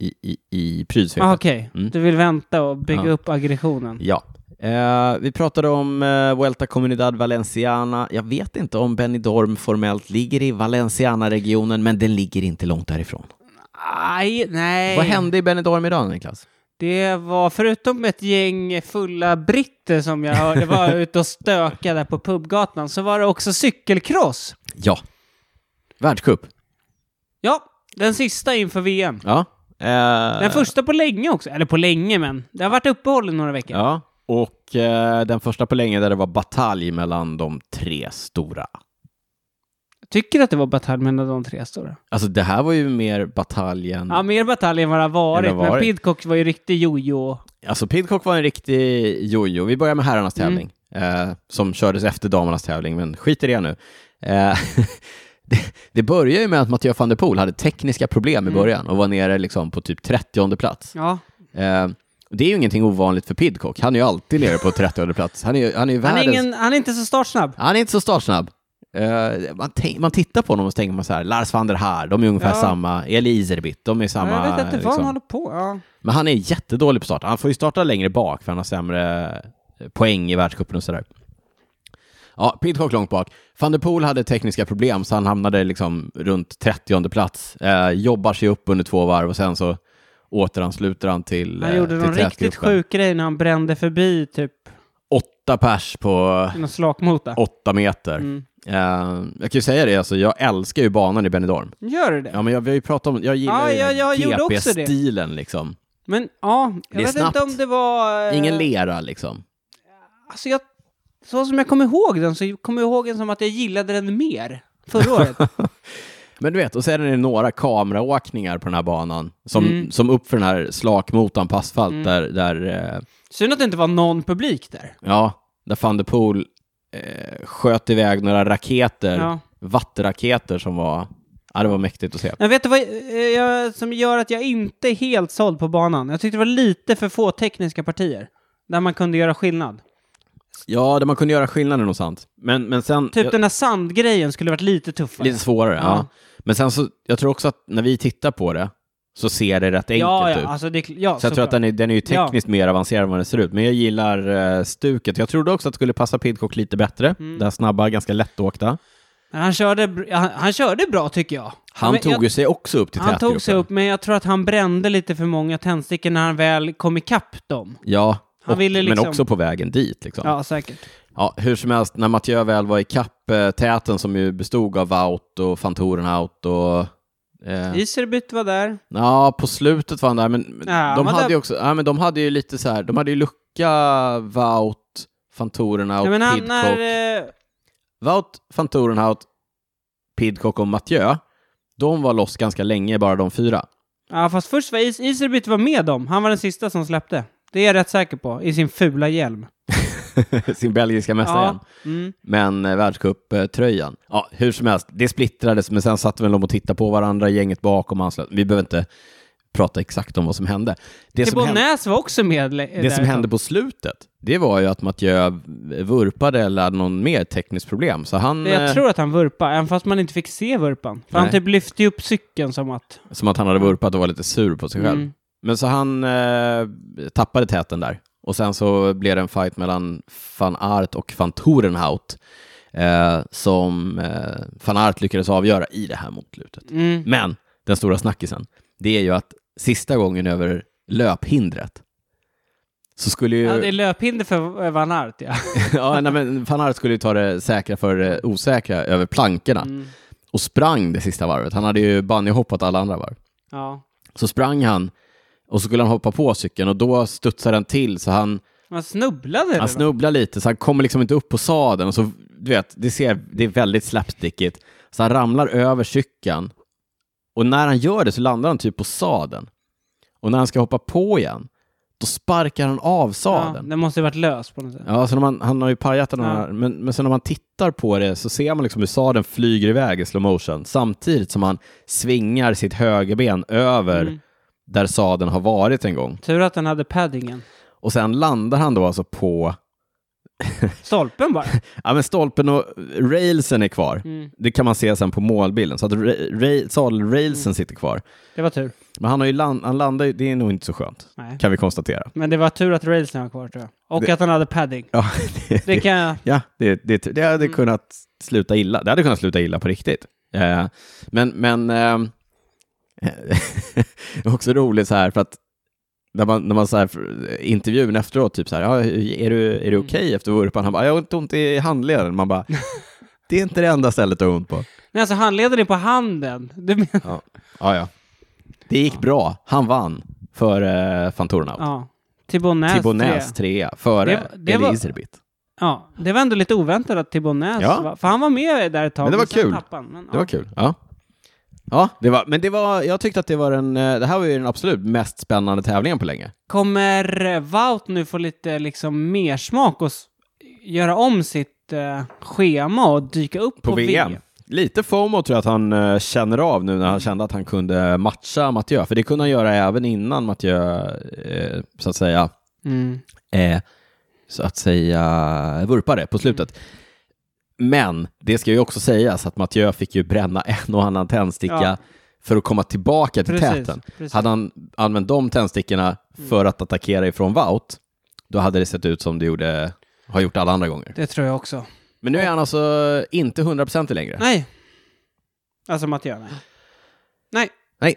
i, i, i
Ah,
prylsvepet.
Okej,
Mm.
du vill vänta och bygga
Ja.
upp aggressionen.
Ja. Eh, vi pratade om eh, Vuelta Comunidad Valenciana. Jag vet inte om Benidorm formellt ligger i Valenciana-regionen, men den ligger inte långt därifrån.
Aj, nej.
Vad hände i Benidorm idag, Niklas?
Det var, förutom ett gäng fulla britter som jag hörde
(laughs)
var ute och stökade där på pubgatan, så var det också cykelcross.
Ja. Världscup?
Ja, den sista inför VM.
Ja. Eh,
Den första på länge också. Eller på länge, men det har varit uppehåll i några veckor.
Ja. Och eh, den första på länge där det var batalj mellan de tre stora.
Jag tycker att det var batalj mellan de tre stora.
Alltså det här var ju mer bataljen.
Ja, mer batalj än vad det har varit,
Än det har
men
Mm. varit.
Pidcock var ju riktig jojo.
Alltså Pidcock var en riktig jojo. Vi börjar med herrarnas
Mm.
tävling, eh, som kördes efter damernas tävling, men skit i det nu. Eh, (laughs) det, det börjar ju med att Mathieu van der Poel hade tekniska problem i
Mm.
början och var nere liksom på typ 30 plats.
Ja.
Eh, det är ju ingenting ovanligt för Pidcock. Han är ju alltid nere på 30 plats. Han är ju han är ju
Han
världens...
är, ingen, han är inte så startsnabb.
Han är inte så startsnabb. Eh, man, tänk, man tittar på honom och så tänker man så här, Lars van der Haar, de är ungefär
Ja.
samma, Eliserbit, de är samma.
jag vet inte vad han
liksom.
håller på. Ja.
Men han är jättedålig på start. Han får ju starta längre bak för han har sämre eh, poäng i världscupen och sådär. Ja, Pidcock långt bak. Van der Poel hade tekniska problem så han hamnade liksom runt 30 plats. Eh, jobbar sig upp under två varv och sen så återansluter han till
Han
eh,
gjorde
till
någon riktigt
tätgruppen.
sjuk grej när han brände förbi typ
Åtta pers på
någon slakmota.
åtta meter.
Mm.
Eh, jag kan ju säga det, alltså, jag älskar ju banan i Benidorm.
Gör du det?
Ja, men jag, vi har ju pratat om, jag gillar
Ja,
ju
jag- jag gjorde också det.
GP-stilen liksom.
Men ja, jag
är
vet
snabbt.
inte om det var... eh,
Ingen lera liksom.
Alltså jag, så som jag kommer ihåg den så kommer jag ihåg den som att jag gillade den mer förra året.
(laughs) Men du vet, och sen är det några kameraåkningar på den här banan, som,
Mm.
som upp för den här slakmotan på asfalt, där, där, eh,
Synd att det inte var någon publik där.
ja, där van der Poel eh, sköt iväg några raketer,
Ja.
vattenraketer som var, ja det var mäktigt att se.
Jag vet du vad eh, jag, som gör att jag inte är helt såld på banan? Jag tyckte det var lite för få tekniska partier där man kunde göra skillnad.
Ja, där man kunde göra skillnaden och sant. Men, men sen...
Typ
jag-
den där sandgrejen skulle varit lite tuffare.
Lite svårare, ja.
Ja.
Men sen så, jag tror också att när vi tittar på det så ser det rätt enkelt
ja, ja,
ut.
alltså det, är kl- ja,
Så jag tror att den är, den är ju tekniskt mer avancerad än vad den ser ut. Men jag
Mm.
gillar eh, stuket. Jag trodde också att det skulle passa Pidcock lite bättre. Det här snabba, ganska lättåkta.
Men han körde, br- han, han körde bra tycker jag.
Han
Men
tog
jag,
ju sig också upp till
Han
tätgruppen.
tog sig upp, men jag tror att han brände lite för många tändstickor när han väl kom ikapp dem.
Ja,
Han
och,
ville liksom-
men också på vägen dit. Liksom. Ja.
Ja, säkert.
hur som helst, när Mathieu väl var i kapp eh, täten som ju bestod av Wout och van Torenhout och... Eh,
Iserbyt var där.
ja, på slutet var han där, men men
Ja,
de
men
hade
det-
ju också... Ja, men de hade ju lite så här, de hade ju Lucka, Wout, van Torenhout,
Nej, men han,
Pidcock.
när, eh,
Wout, van Torenhout, Pidcock och Mathieu, de var loss ganska länge, bara de fyra.
ja, fast först var Is- Iserbyt var med dem. Han var den sista som släppte. Det är jag rätt säker på, i sin fula hjälm.
Sin belgiska mästare igen.
Ja, mm.
Men eh, världscuptröjan, ja, hur som helst, det splittrades, men sen satt väl de och tittade på varandra, gänget bakom och anslöt. Vi behöver inte prata exakt om vad som hände. Det, som hände,
Tibonäs var också med. le-
det som
där.
hände på slutet, det var ju att Mathieu vurpade eller hade någon mer tekniskt problem, så han, eh,
Jag tror att han vurpade, även fast man inte fick se vurpan. För han
Nej.
typ lyfte ju upp cykeln som att...
som att han hade vurpat och var lite sur på sig själv.
Mm.
Men så han eh, tappade täten där. Och sen så blev det en fight mellan van Aert och van Torenhout eh, som eh, van Aert lyckades avgöra i det här motlutet.
Mm.
Men den stora snackisen, det är ju att sista gången över löphindret så skulle ju...
Ja,
(laughs)
det är löphinder för eh, Van Aert, ja.
ja, nej, men van Aert skulle ju ta det säkra för det osäkra över plankorna
Mm.
och sprang det sista varvet. Han hade ju bunnyhoppat alla andra varv.
ja.
Så sprang han och så skulle han hoppa på cykeln och då studsade den till så han,
Man snubblade. eller
han
vad?
snubblade lite så han kommer liksom inte upp på sadeln och så, du vet, det, ser, det är väldigt slapstickigt. Så han ramlar över cykeln och när han gör det så landar han typ på sadeln. Och när han ska hoppa på igen, då sparkar han av
ja,
sadeln.
den måste ju varit lös på något sätt.
Ja, så när man, han har ju pajat den här,
Ja.
men, men sen när man tittar på det så ser man liksom hur sadeln flyger iväg i slow motion samtidigt som han svingar sitt högerben över
Mm.
där sadeln har varit en gång.
Tur att den hade paddingen.
Och sen landar han då alltså på...
Stolpen bara.
Ja, men stolpen och railsen är kvar.
Mm.
Det kan man se sen på målbilden. Så att ra- ra- sadelrailsen
Mm.
sitter kvar.
Det var tur.
Men han har ju land- han landar ju... Det är nog inte så skönt,
Nej.
kan vi konstatera.
Men det var tur att railsen var kvar, tror jag. Och
Det-
att han hade padding.
Ja, (laughs) det,
Det kan jag...
ja, det, det, det hade
Mm.
kunnat sluta illa. Det hade kunnat sluta illa på riktigt. Eh, men... men ehm, det är (laughs) också roligt så här, för att när man, när man så här, eh, intervjun efteråt, typ så här, ja, är du, är du
Mm.
okej efter vurpan? Han bara, jag har inte ont i handleden. Man bara, (laughs) det är inte det enda stället du har ont på.
Nej, alltså handleden är på handen. Du menar...
Ja, ja. Det gick bra. Han vann för eh, van Torenhout.
Ja. Tibonäs.
Tibonäs trea före
Det- det
Elie
var-
Iserbit.
Ja, det var ändå lite oväntat att Tibonäs
Ja.
var... För han var med där ett tag.
Men det var
sen
kul.
tappade Han, men,
Det var kul. Ja. Ja, det var, men det var, jag tyckte att det var den, eh, det här var ju den absolut mest spännande tävlingen på länge.
Kommer eh, Wout nu få lite liksom mer smak och s- göra om sitt eh, schema och dyka upp på,
Lite FOMO tror jag att han eh, känner av nu när
Mm.
han kände att han kunde matcha Mathieu, för det kunde han göra även innan Mathieu, eh, så att säga,
Mm.
eh, så att säga vurpade på slutet. Men det ska ju också sägas att Mathieu fick ju bränna en och annan tändsticka
Ja.
för att komma tillbaka till
Precis.
täten.
precis. Mm.
Hade han använt de tändstickorna för att attackera ifrån Wout, då hade det sett ut som det gjorde, har gjort alla andra gånger.
Det tror jag också.
Men nu är han alltså inte 100% längre.
Nej. Alltså Mattias, nej. Nej.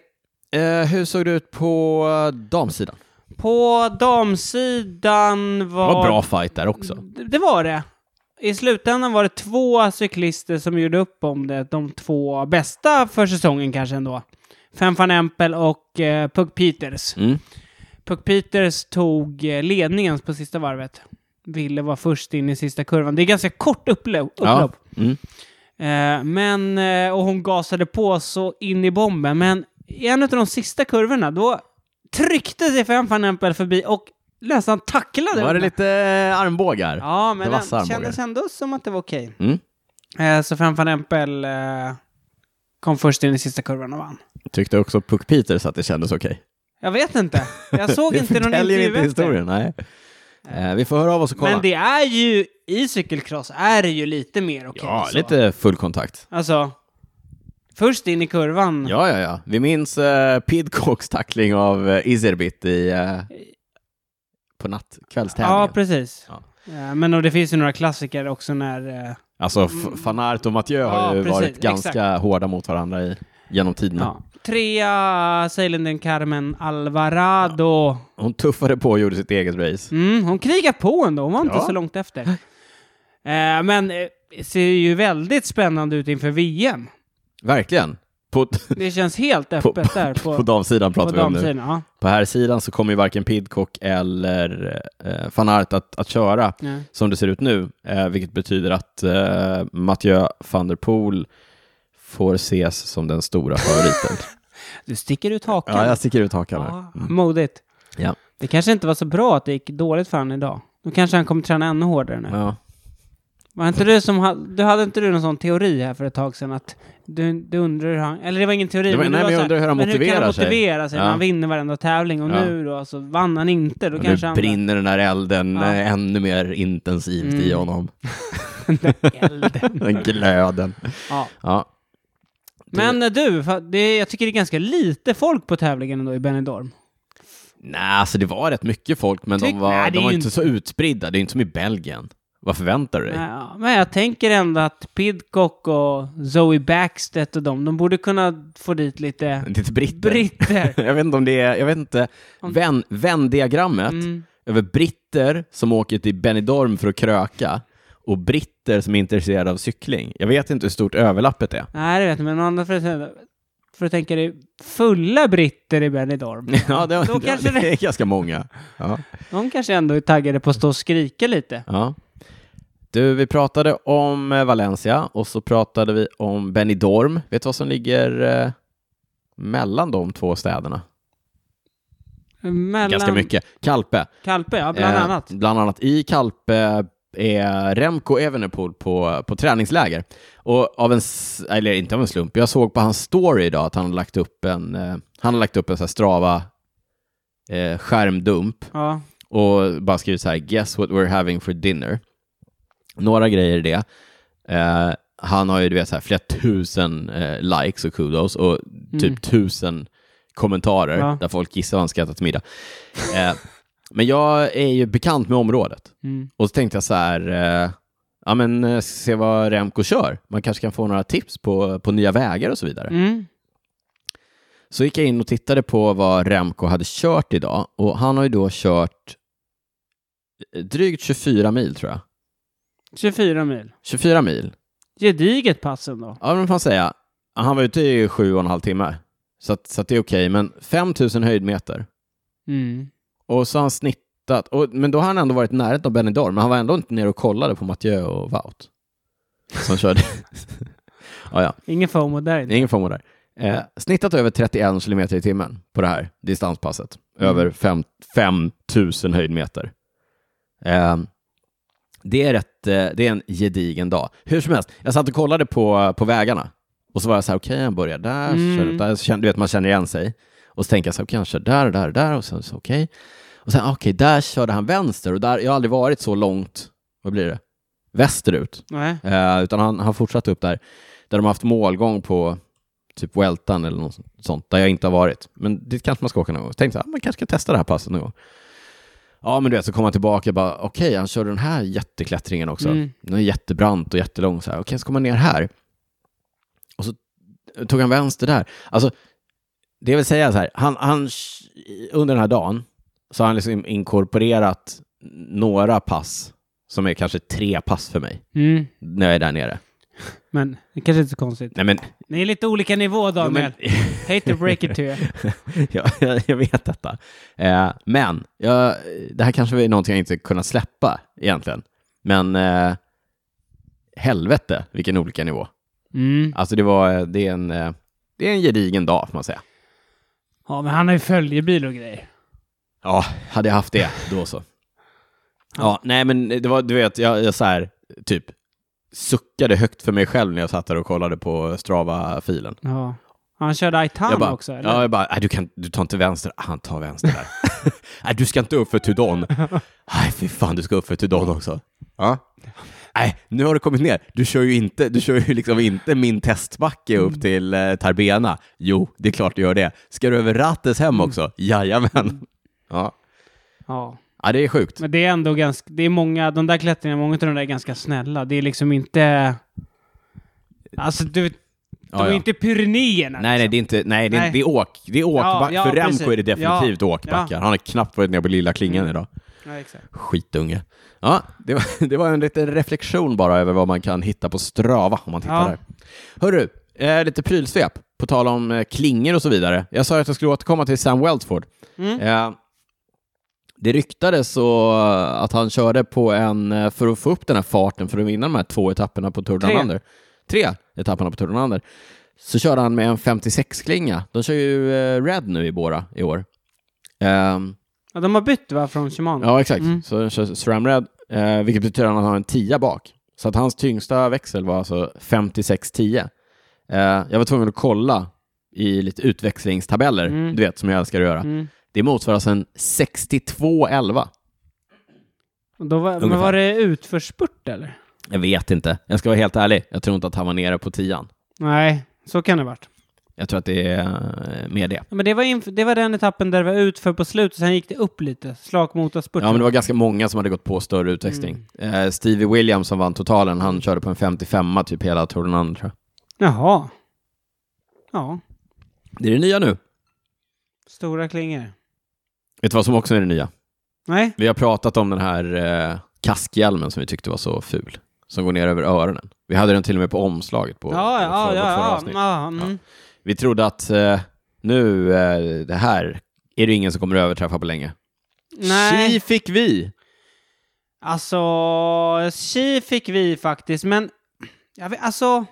Eh, hur såg det ut på damsidan?
På damsidan
Det
var...
var bra fight där också.
D- Det var det. I slutändan var det två cyklister som gjorde upp om det. De två bästa för säsongen kanske ändå. Fem van Empel och eh, Pug Peters.
Mm.
Puck Peters tog eh, ledningen på sista varvet. Ville vara först in i sista kurvan. Det är ganska kort upplö-
Ja.
upplopp.
Mm.
Eh, men, eh, och hon gasade på så in i bomben. Men i en av de sista kurvorna, då tryckte sig Fem van Empel förbi och nästan tacklade
Var det
henne.
lite armbågar?
Ja, men
det vassa
det
armbågar?
kändes ändå som att det var okej.
Mm.
Eh, så Fem van Empel eh, kom först in i sista kurvan och vann.
Tyckte också Puck Peters att det kändes okej.
Jag vet inte.
(laughs)
Jag såg inte någon
förtäljer
intervju
inte
efter.
historien, nej. Eh, vi får höra av oss och kolla.
Men det är ju, i cykelcross är det ju lite mer okej.
ja,
så.
lite full kontakt.
Alltså, först in i kurvan.
Ja, ja, ja. Vi minns eh, Pidcocks tackling av eh, Izerbit i, eh, på nattkvällstävlingen.
Ja, precis.
Ja.
Eh, Men och det finns ju några klassiker också när eh,
Alltså, F- van Aert och Mathieu
Ja,
har ju
precis,
varit ganska hårda mot varandra i, genom tiderna.
Ja. Trea, Seilinden Carmen Alvarado.
Hon tuffade på och gjorde sitt eget race.
Mm, hon krigar på ändå, hon var inte
Ja.
så långt efter. Eh, men eh, ser ju väldigt spännande ut inför VM.
Verkligen. På, på,
Det känns helt
på,
öppet där på,
(laughs) på damsidan
på
pratar vi om nu.
damsidan. Ja.
På här sidan så kommer ju varken Pidcock eller eh, van Aert att, att köra
Nej.
som det ser ut nu, eh, vilket betyder att eh, Mathieu van der Poel får ses som den stora favoriten.
Du sticker ut hakan.
ja, jag sticker ut hakan här.
Ja, Modigt.
Ja.
Det kanske inte var så bra att det gick dåligt för honom idag. Då kanske han kommer träna ännu hårdare nu.
Ja.
Var inte du som ha, du hade inte du någon sån teori här för ett tag sedan att du, du undrar hur han, eller det var ingen teori,
Det var-
men,
nej,
det var
men
så
jag
här,
undrar hur han
men hur kan
motiverar
han
sig?
motivera sig när
Ja.
han vinner varenda tävling och
Ja.
nu då så vann han inte, då kanske
Nu
han...
brinner den här elden
Ja.
eh, ännu mer intensivt i
Mm.
honom.
(laughs)
(laughs)
Elden.
Den glöden.
ja.
Ja.
Men eh, du, fa- det, jag tycker det är ganska lite folk på tävlingen ändå i Benidorm.
Nej, alltså det var rätt mycket folk, men
Tyck-
de var,
Nej, det
de
är
var
ju
inte, så utspridda. Det är inte som i Belgien. Vad förväntar du dig?
Ja, men jag tänker ändå att Pidcock och Zoe Backstedt och dem, de borde kunna få dit lite
Lite britter. (laughs)
britter.
jag vet inte om det är, jag vet inte.
Om-
Vän, vändiagrammet
Mm.
över britter som åker till Benidorm för att kröka och britter som är intresserade av cykling. Jag vet inte hur stort överlappet är.
Nej, det vet jag, men å andra för att, för att tänka dig fulla britter i Benidorm.
(laughs) Ja, det,
Då
det,
kanske
det är ganska många. Ja.
De kanske ändå är taggade på att stå och skrika lite.
Ja. Du, vi pratade om eh, Valencia och så pratade vi om Benidorm. Vet du vad som ligger eh, mellan de två städerna?
Mellan
Ganska mycket. Kalpe.
Kalpe, ja, bland
Eh,
annat.
Bland annat i Kalpe är Remco Evenepoel på, på träningsläger. Och av en, s- eller inte av en slump, jag såg på hans story idag att han har lagt upp en, eh, han har lagt upp en så här strava eh, skärmdump
Ja.
och bara skrivit så här, guess what we're having for dinner. Några grejer i det. Eh, han har ju du vet, så här, flera tusen eh, likes och kudos och typ
Mm.
tusen kommentarer
Ja.
där folk gissar vad han ska äta till middag. Eh, men jag är ju bekant med området
Mm.
och så tänkte jag så här, eh, ja men eh, se vad Remco kör. Man kanske kan få några tips på, på nya vägar och så vidare.
Mm.
Så gick jag in och tittade på vad Remco hade kört idag och han har ju då kört eh, drygt 24 mil tror jag.
24 mil.
24 mil.
Gediget pass ändå.
Ja, men vad fan säga. Han var ute i sju och en halv timme. Så, att, så att det är okej, men 5000 höjdmeter.
Mm.
Och så har han snittat. Och, men då har han ändå varit nära av Benidorm, men han var ändå inte nere och kollade på Mathieu och Wout. Som körde. ja, ja.
Ingen FOMO där
Det är
inte.
ingen FOMO där. Eh, snittat över 31 kilometer i timmen på det här distanspasset. Över fem- 5 000 höjdmeter. Eh, det, är rätt, eh, det är en gedigen dag. Hur som helst, jag satt och kollade på, på vägarna. Och så var jag så här, okej, han börjar där,
Mm.
kör upp där. Så kände, du vet, man känner igen sig. Och så tänker jag så här, okej, han kör där och där och där. Och sen så okej. Och sen, okej, där körde han vänster. Och där, jag har aldrig varit så långt, vad blir det? Västerut.
Nej.
Eh, utan han, han fortsatte upp där, där de har haft målgång på typ Weltan eller något sånt, där jag inte har varit. Men dit kanske man ska åka någon gång. Så tänkte jag, ah, man kanske ska testa det här passet någon gång. Ja, men du vet, så kom han tillbaka och bara, okej, han körde den här jätteklättringen också.
Mm.
Den är jättebrant och jättelång så här. Okej, så kom han ner här. Och så tog han vänster där. Alltså, det vill säga så här, han, han, under den här dagen så har han liksom inkorporerat några pass som är kanske tre pass för mig
Mm.
när jag är där nere.
Men det kanske inte är så konstigt.
Nej men, (laughs)
Ni är lite olika nivå,
jo, (laughs)
Daniel.
men
Hate to break it to you.
ja, jag, jag vet detta. Eh, men, jag, det här kanske är någonting jag inte kunnat släppa egentligen. Men eh, helvete vilken olika nivå.
Mm.
Alltså det var, det är en, eh, det är en gedigen dag får man säga.
Ja, men han har ju följebil och grejer.
Ja, hade jag haft det, då så. Ja, nej men det var, du vet, jag, jag så här, typ suckade högt för mig själv när jag satt där och kollade på Strava-filen.
Ja. Han körde Aitan
jag bara,
också, eller?
ja, jag bara, "Nej, du, kan, du tar inte vänster, Ah, han tar vänster där. (laughs) Nej, du ska inte upp
(laughs)
för Tudon. Nej, fy fan, du ska upp för Tudon också. Ja. Nej, nu har du kommit ner. Du kör ju inte, du kör ju liksom inte min testbacke
Mm.
upp till eh, Tarbena. Jo, det
Mm.
är klart du gör det. Ska du över Rattes hem också? Jajamän. Ja.
Ja.
Ja, det är sjukt.
Mm. Men det är ändå ganska, det är många, de där klättringarna, många av de där är ganska snälla. Det är liksom inte... Alltså, du vet, de
Ja,
är
ja.
inte Pyrenéerna.
Nej, nej, det är inte, nej, det är,
Nej.
Det är åk. Det är
Ja,
åkback.
ja,
för Remco är det
precis.
definitivt
Ja, Mm.
åkbackar.
ja.
Han har knappt varit nere på lilla klingan idag.
Ja, exakt.
Skitunge. Ja, det var, (laughs) det var en liten reflektion bara över vad man kan hitta på Strava om man tittar
Ja.
där. Hörru, eh, lite prylsvep, på tal om eh, klingor och så vidare. Jag sa ju att jag skulle återkomma till Sam Weltford.
Mm.
Eh, det ryktades så eh, att han körde på en, eh, för att få upp den här farten för att vinna de här två etapperna på Tour
Tre.
Down Under, tre etapperna på Tour Down Under, så körde han med en 56-klinga. De kör ju eh, Red nu i Bora i år. Ehm,
Ja, de har bytt va, från Shimano?
Ja, exakt.
Mm.
Så den kör SRAMRED, eh, vilket betyder att han har en 10 bak. Så att hans tyngsta växel var alltså 56-10. Eh, jag var tvungen att kolla i lite utväxlingstabeller,
Mm.
du vet, som jag älskar att göra.
Mm.
Det motsvarar alltså en 62-11.
Och då var, men
Ungefär.
var det utförsspurt eller?
Jag vet inte. Jag ska vara helt ärlig. Jag tror inte att han var nere på 10
Nej, så kan det ha varit.
Jag tror att det är eh, mer det.
Ja, men det var, inf- det var den etappen där det var utför på slutet, sen gick det upp lite. Slakmotorspurt.
Ja, men det var ganska många som hade gått på större utväxling.
Mm.
Eh, Stevie Williams som vann totalen, han körde på en 55 typ hela Tour de Andre, tror jag.
Jaha. Ja,
Det är det nya nu.
stora klingor.
Vet du vad som också är det nya?
Nej,
Vi har pratat om den här eh, kaskhjälmen som vi tyckte var så ful, som går ner över öronen. Vi hade den till och med på omslaget på
ja,
på
ja,
förra- förra
ja, ja,
avsnitt.
ja, mm.
Vi trodde att eh, nu, eh, det här är det ingen som kommer att överträffa på länge.
Nej,
Tji fick vi!
alltså, chi fick vi faktiskt, men jag vet, alltså,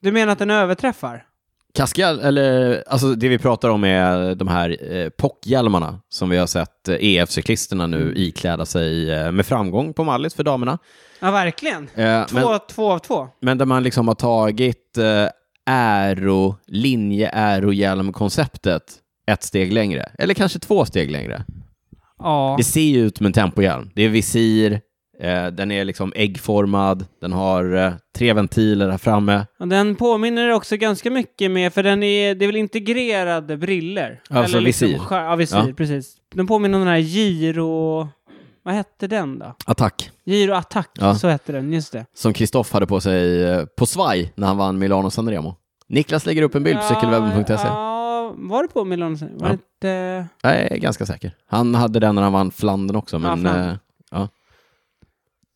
du menar att den överträffar?
Kaskhjälm, eller alltså det vi pratar om är de här eh, pockhjälmarna som vi har sett eh, EF-cyklisterna
Mm.
nu ikläda sig eh, med framgång på Mallis för damerna.
Ja, verkligen.
Eh,
Två,
men-
två av två.
Men där man liksom har tagit eh, äro, linje äro hjälm konceptet ett steg längre. Eller kanske två steg längre.
Ja.
Det ser ju ut som en tempohjälm. Det är visir, eh, den är liksom äggformad, den har eh, tre ventiler här framme.
Och den påminner också ganska mycket med, för den är, det är väl integrerade briller?
Alltså visir.
skär- Ja, visir,
Ja.
precis. Den påminner om den här Giro... Vad hette den då?
Attack.
Giro Attack,
Ja.
så hette den, just det.
Som Kristoff hade på sig eh, på svaj när han vann Milano Sanremo. Niklas lägger upp en bild på cykelwebben.se.
Ja, var det på Milano? sen? Var
Ja.
det inte...
E. Jag är ganska säker. Han hade den när han vann Flandern också, men...
Flandern.
eh, ja.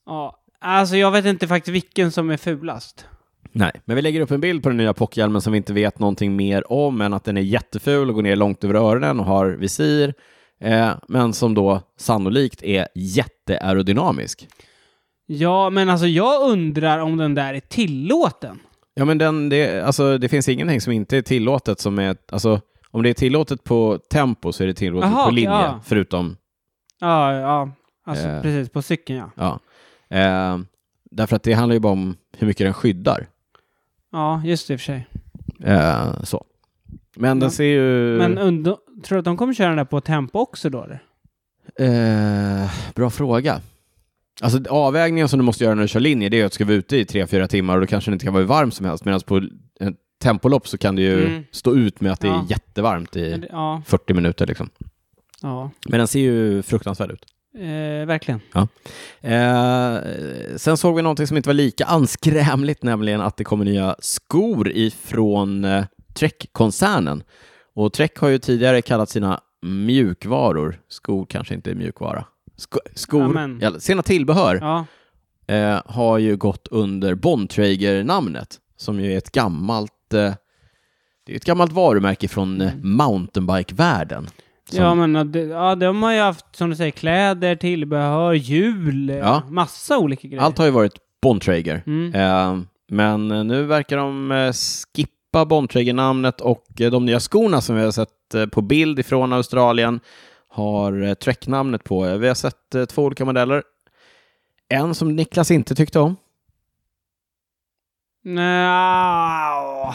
Ja. Alltså jag vet inte faktiskt vilken som är fulast.
Nej, men vi lägger upp en bild på den nya pockhjälmen som vi inte vet någonting mer om än att den är jätteful och går ner långt över öronen och har visir, eh, men som då sannolikt är jätteaerodynamisk.
Ja, men alltså jag undrar om den där är tillåten.
Ja, men den, det, alltså, det finns ingenting som inte är tillåtet som är, alltså, om det är tillåtet på tempo så är det tillåtet
Aha,
på
okej,
linje,
ja.
förutom,
Ja, ja. Alltså
Eh.
precis, på cykeln ja.
ja. Eh, därför att det handlar ju bara om hur mycket den skyddar.
Ja, just det i och för sig.
Eh, så. Men
Ja.
den ser ju...
Men undå, tror du att de kommer köra den där på tempo också då? Eller?
Eh, bra fråga. Alltså avvägningen som du måste göra när du kör linje, det är att du ska vara ute i 3-4 timmar och då kanske det inte kan vara hur varmt som helst. Medan på ett tempolopp så kan du ju
Mm.
stå ut med att det är
Ja.
jättevarmt i
Eller- Ja,
40 minuter liksom.
ja.
Men den ser ju fruktansvärd ut.
Eh, verkligen.
Eh, sen såg vi någonting som inte var lika anskrämligt, nämligen att det kommer nya skor ifrån eh, Trek-koncernen. Och Trek har ju tidigare kallat sina mjukvaror, skor kanske inte är mjukvara, Sko skor,
Amen.
eller sina tillbehör,
Ja,
eh, har ju gått under Bontrager-namnet, som ju är ett gammalt eh, det är ett gammalt varumärke från eh, mountainbike-världen. Som-
ja men ja, det- ja, de har ju haft, som du säger, kläder, tillbehör, hjul, eh,
Ja.
massa olika grejer.
Allt har ju varit Bontrager.
Mm.
Eh, men eh, nu verkar de eh, skippa Bontrager-namnet och eh, de nya skorna som vi har sett eh, på bild ifrån Australien har eh, Trek-namnet på. Eh, Vi har sett eh, två olika modeller. En som Niklas inte tyckte om.
Nja.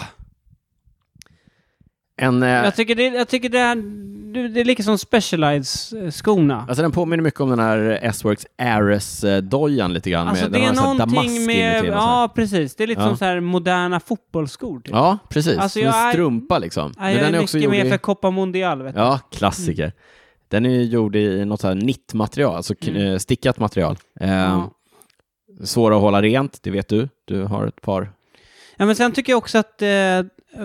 En, eh,
Jag tycker det, jag tycker det, här, du- det är lika som eh, Specialized-skorna.
alltså den påminner mycket om den här eh, S-Works Ares-dojan lite grann.
Alltså
med,
det
den
är
har en sån här damask
någonting med,
inuti och så här.
ja precis, det är lite
Ja.
som så här moderna fotbollsskor typ.
ja, precis.
Alltså
Som
jag
en
är-
strumpa liksom.
Nej, jag är, mycket mer
i-
för Copa Mundial vet du.
Ja, klassiker. Den är ju gjord i något så här nittmaterial, alltså k-
Mm.
eh, stickat material. Eh,
Ja.
Svåra att hålla rent, det vet du. Du har ett par.
Ja, men sen tycker jag också att eh,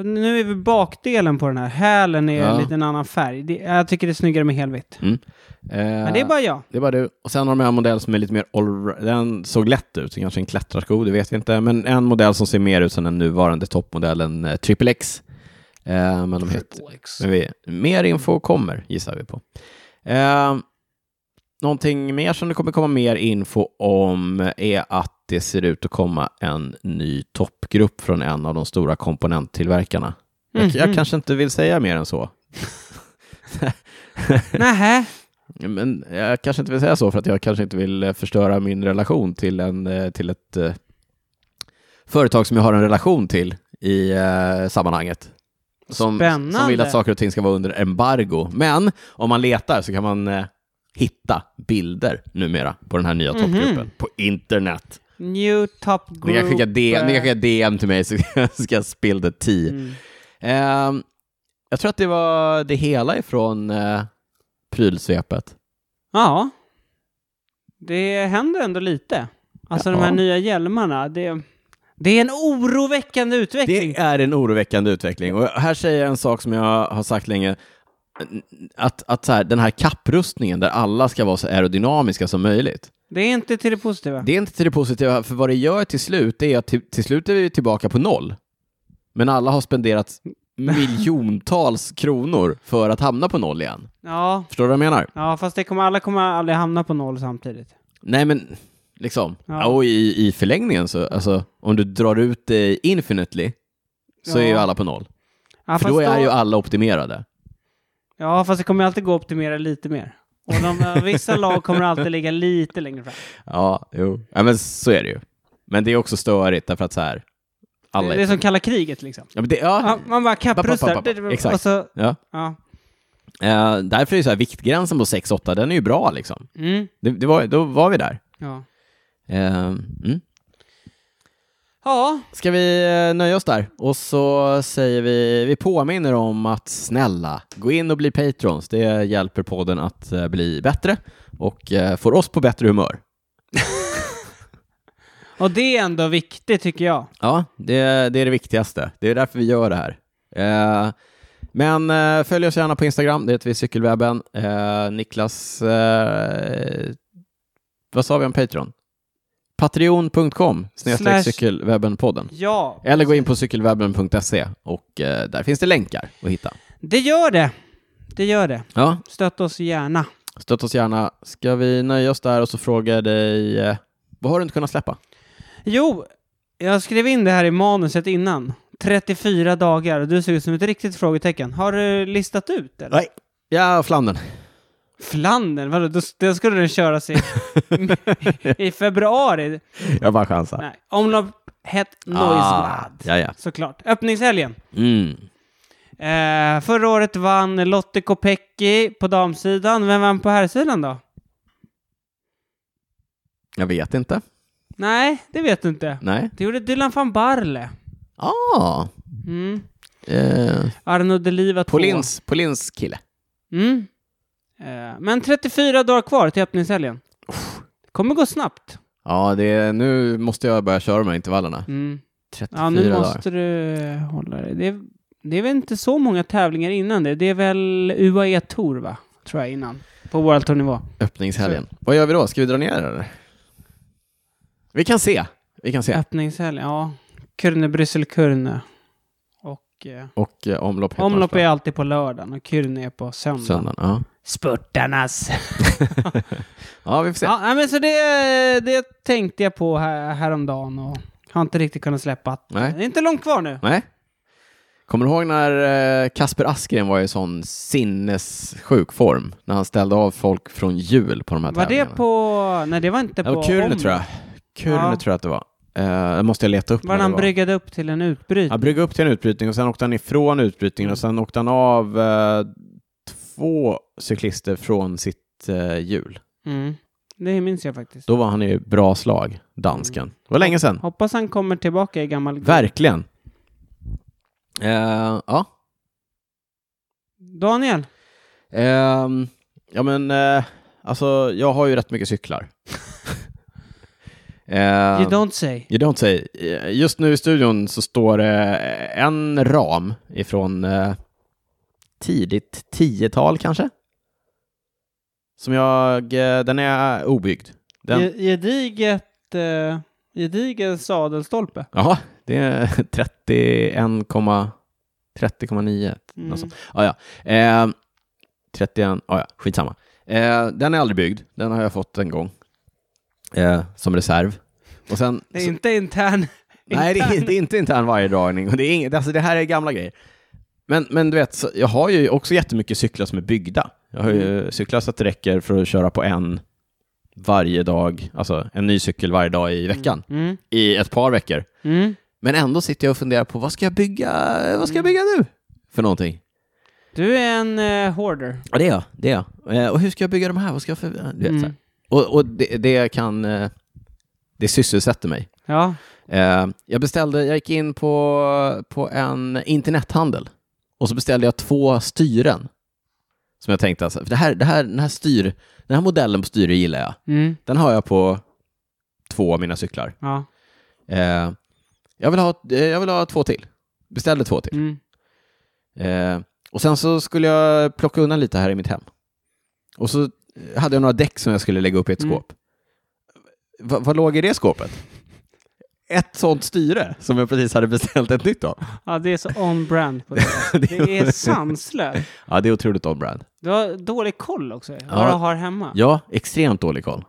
nu är vi bakdelen på den här. Hälen är
Ja.
lite en annan färg. Det, jag tycker det är snyggare med helvitt.
Eh,
Men det är bara jag.
det är bara du. Och sen har de en modell som är lite mer all... Den såg lätt ut, kanske en klättrarsko, det vet vi inte. Men en modell som ser mer ut som den nuvarande toppmodellen eh, Triple X. Eh, men de heter... (laughs) Men vi, mer info kommer, gissar vi på. Eh, någonting mer som det kommer komma mer info om är att det ser ut att komma en ny toppgrupp från en av de stora komponenttillverkarna.
Mhm.
Jag, jag kanske inte vill säga mer än så.
Nähä.
Men jag kanske inte vill säga så för att jag kanske inte vill eh, förstöra min relation till, en, eh, till ett eh, företag som jag har en relation till i eh, sammanhanget. Som,
Spännande.
som vill att saker och ting ska vara under embargo. Men om man letar så kan man eh, hitta bilder numera på den här nya
Mhm.
toppgruppen på internet.
New Top Group.
Ni kan, skicka DM, ni kan
eh,
skicka DM till mig så (laughs) ska jag spill the tea.
mm.
Ehm, jag tror att det var det hela ifrån eh, prylsvepet.
Ja. Det händer ändå lite. Alltså de här
Ja.
nya hjälmarna. Det, det är en oroväckande utveckling.
Det är en oroväckande utveckling. Och här säger jag en sak som jag har sagt länge. Att, att så här, den här kapprustningen där alla ska vara så aerodynamiska som möjligt.
Det är inte till det positiva.
Det är inte till det positiva, för vad det gör till slut är att till, till slut är vi tillbaka på noll. Men alla har spenderat miljontals kronor för att hamna på noll igen.
Ja.
Förstår du vad jag menar?
ja, fast det kommer, alla kommer aldrig hamna på noll samtidigt.
Nej, men liksom.
Ja.
Och i, i förlängningen så, alltså, om du drar ut det infinitely så
Ja.
är ju alla på noll.
Ja,
för
fast
då är ju alla optimerade.
Ja, fast det kommer alltid gå att optimera lite mer. Och de, eh, vissa lag kommer alltid ligga lite längre fram.
Ja, jo. Ja, men så är det ju. Men det är också störigt därför att så här, alla
Det är
är...
som kalla kriget liksom.
Ja, men det, ja,
Ja, man bara
Ba, ba, ba, ba.
kapprustar.
Exakt.
Och så,
ja.
ja.
Eh, därför är det så här, viktgränsen på 6-8, den är ju bra liksom.
Mm.
Det, det var, då var vi där.
Ja.
Eh, mm.
ja,
Ska vi eh, nöja oss där? Och så säger vi, vi påminner om att snälla, gå in och bli patrons. Det hjälper podden att eh, bli bättre och eh, får oss på bättre humör.
och det är ändå viktigt tycker jag.
Ja, det, det är det viktigaste. Det är därför vi gör det här. Eh, men eh, följ oss gärna på Instagram, det heter vi Cykelwebben. Eh, Niklas, eh, vad sa vi om Patreon? Patreon.com
Slash-
snedstreck cykelwebbenpodden.
Ja,
Eller gå in på cykelwebben.se och eh, där finns det länkar att hitta.
det gör det. Det gör det.
Ja,
Stötta oss gärna.
stötta oss gärna. Ska vi nöja oss där och så frågar jag dig, eh, vad har du inte kunnat släppa?
Jo, jag skrev in det här i manuset innan. 34 dagar och du ser ut som ett riktigt frågetecken. Har du listat ut eller?
Nej. Ja, Flandern.
Flandern, vadå? Då, då skulle den köras i, i februari.
Jag bara chansar.
Nej, omlopp hett Noisblad.
Ah, ja, ja.
Såklart. Öppningshelgen.
Mm.
Eh, förra året vann Lotte Kopecky på damsidan. Vem vann på herrsidan då?
Jag vet inte.
Nej, det vet du inte.
Nej.
Det gjorde Dylan van Barle.
Ah,
Mm.
eh,
Arno Deliva två.
Polins, Polins kille.
Mm. Eh, men 34 dagar kvar till öppningshelgen. Det kommer gå snabbt.
Ja, det är, nu måste jag börja köra de här intervallerna.
Mm.
34
Ja, nu
dagar.
måste du hålla dig. Det är, det är väl inte så många tävlingar innan det. Det är väl UAE Tour, va? Tror jag, innan. På World Tour-nivå.
Öppningshelgen. Vad gör vi då? Ska vi dra ner det, eller? Vi kan se. Vi kan se.
Öppningshelgen, ja. Kurne, Bryssel, Kurne. Och eh,
Och eh, omlopp heter
omlopp
Marsberg.
är alltid på lördagen och Kurne är på söndagen.
söndagen. Ja. (laughs)
Spurtarnas!
ja, vi får se.
Ja, nej, men så det, det tänkte jag på här, häromdagen och har inte riktigt kunnat släppa. att-
Nej.
Det är inte långt kvar nu.
Nej. Kommer du ihåg när eh, Kasper Askren var i sån sinnessjuk form? När han ställde av folk från jul på de här
Var det
tävlingarna.
på... Nej, det var inte
Det
på...
var Kurne,
Om-
tror jag. Kurne
Ja.
tror jag att det var. Eh, det måste jag leta upp.
Var
när
när
det
han bryggade upp till en utbryt.
Han bryggde upp till en utbrytning och sen åkte han ifrån utbrytningen och sen åkte han av eh, två cyklister från sitt eh, hjul.
Mm. Det minns jag faktiskt.
Då var han i bra slag, dansken. Det var länge sedan.
Hoppas han kommer tillbaka i gammal...
Verkligen. Eh, ja.
Daniel,
Ehm, Ja, men eh, alltså, jag har ju rätt mycket cyklar. (laughs) Eh,
You don't say.
You don't say. Eh, Just nu i studion så står det eh, en ram ifrån eh, tidigt 10-tal kanske. Som jag, eh, den är obyggd. Den,
Ge- Gediget... Uh, gedigen sadelstolpe.
jaha, det är (laughs) 31,9. 30,9.
Mm.
Alltså. Ah, ja. eh, 31, ah, ja, skitsamma. Eh, den är aldrig byggd, den har jag fått en gång. Eh, som reserv. Och sen,
Det är inte intern.
Nej, det är, det är inte intern vajerdragning. Och det, är inget, alltså det här är gamla grejer. Men, men du vet, så jag har ju också jättemycket cyklar som är byggda. Jag har ju cyklar så att det räcker för att köra på en varje dag, alltså en ny cykel varje dag i veckan,
Mm.
i ett par veckor.
Mm.
Men ändå sitter jag och funderar på vad ska jag bygga, vad ska jag bygga nu för någonting?
Du är en eh, hoarder.
Ja, det är jag. Det är jag. Eh, Och hur ska jag bygga de här? Vad ska jag för... Du vet,
Mm.
så här. Och, och det, det kan, eh, det sysselsätter mig.
Ja.
Eh, jag beställde, jag gick in på, på en internethandel och så beställde jag två styren. Som jag tänkte, alltså, för det här, det här, den, här styr, den här modellen på styre gillar jag.
Mm.
Den har jag på två av mina cyklar.
Ja.
Eh, jag, vill ha, eh, jag vill ha två till. Beställde två till.
Mm.
Eh, och sen så skulle jag plocka undan lite här i mitt hem. Och så hade jag några däck som jag skulle lägga upp i ett
Mm.
skåp. Va, vad låg i det skåpet? Ett sånt styre som jag precis hade beställt ett nytt av. (laughs)
ja, det är så on-brand på det.
Det
Det
(laughs)
är sanslöst.
ja, det är otroligt on-brand.
Du har dålig koll också, vad
Ja.
du har hemma.
Ja, extremt dålig koll.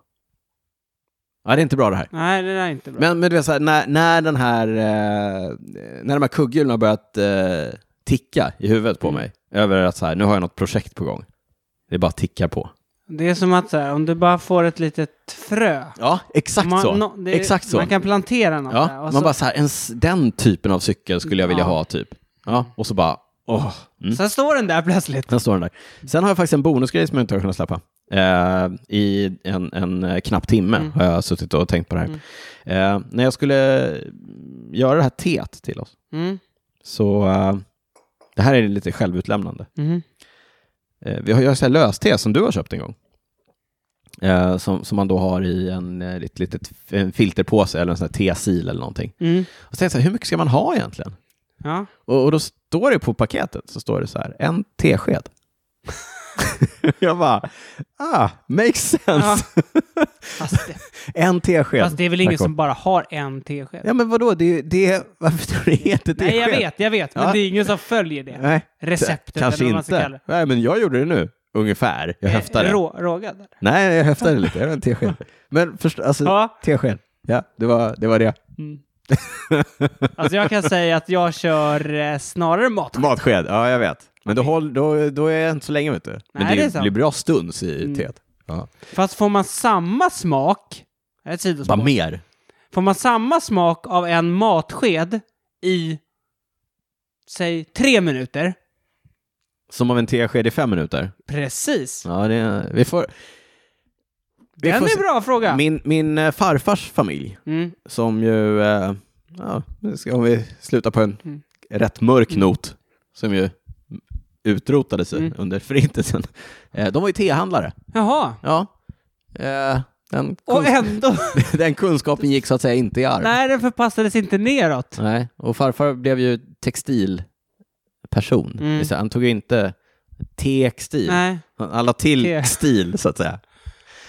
Ja, det är inte bra det här.
Nej, det där är inte bra.
Men, men du vet, så här, när, när, den här, eh, när de här kugghjulen har börjat eh, ticka i huvudet på
Mm.
mig, över att så här, nu har jag något projekt på gång. Det bara tickar på.
Det är som att så här, om du bara får ett litet frö.
Ja, exakt
man,
så.
nå- det,
exakt så.
Man kan plantera något där.
ja,
och
man
så,
bara så här, en, s- den typen av cykel skulle jag vilja
Ja.
ha typ. Ja, och så bara, åh. Mm.
Sen står den där plötsligt.
Den står den där. Sen har jag faktiskt en bonusgrej som jag inte har kunnat släppa. Eh, I en, en eh, knapp timme
Mm.
har jag suttit och tänkt på det här. Eh, när jag skulle göra det här teet till oss,
Mm.
så eh, det här är lite självutlämnande.
Mm.
Eh, vi har ju så här löste som du har köpt en gång. Eh, som, som man då har i en, eh, ett litet en filterpåse eller en sån här tesil eller någonting.
Mm.
Och så tänkte jag så här, hur mycket ska man ha egentligen?
Ja.
Och, och då står det på paketet, så står det så här, en tesked. (laughs) jag bara, ah, makes
ja.
sense.
(laughs) Fast, det,
En tesked.
fast det är väl ingen
Tack,
som bara har en tesked?
Ja, men vadå, det, är ju- det, är- varför tror du det heter tesked?
Nej, jag vet, jag vet. Men
Ja.
det är ingen som följer det.
Nej,
Receptet
kanske
eller vad man ska kalla
inte.
det. Eh,
Nej, men jag gjorde det nu, ungefär. Jag Mm. höftade.
Rå, rågad? eller?
Nej, jag höftade lite, jag var en tesked. Men först, alltså,
Ja.
tesked. Ja, det var det. Var det. (laughs)
Mm. alltså jag kan säga att jag kör eh, snarare mat.
Matsked, ja jag vet. Men då, håll, då, då är jag inte så länge, vet du. Men
Nej, det är
det
sant.
blir bra stunds i
Mm.
teet. Ja.
Fast får man samma smak, det är ett
Bara
sidospår.
mer.
Får man samma smak av en matsked i, säg tre minuter,
Som av en tesked i fem minuter.
precis.
Ja, det, vi får... vi
Den
får
är
se.
bra fråga.
Min, min eh, farfars familj,
Mm.
som ju... eh, Ja, nu ska, om vi slutar på en
Mm.
rätt mörk not, som ju utrotades
Mm.
under förintelsen. Eh, De var ju tehandlare.
Jaha.
Ja. Eh, Den,
Och
kunsk- (laughs)
ändå,
den kunskapen gick så att säga inte i arv.
nej den förpassades inte neråt.
Nej, och farfar blev ju textilperson.
Mm.
Så Han tog ju inte textil.
Nej.
Han la till
Te.
stil, så att säga.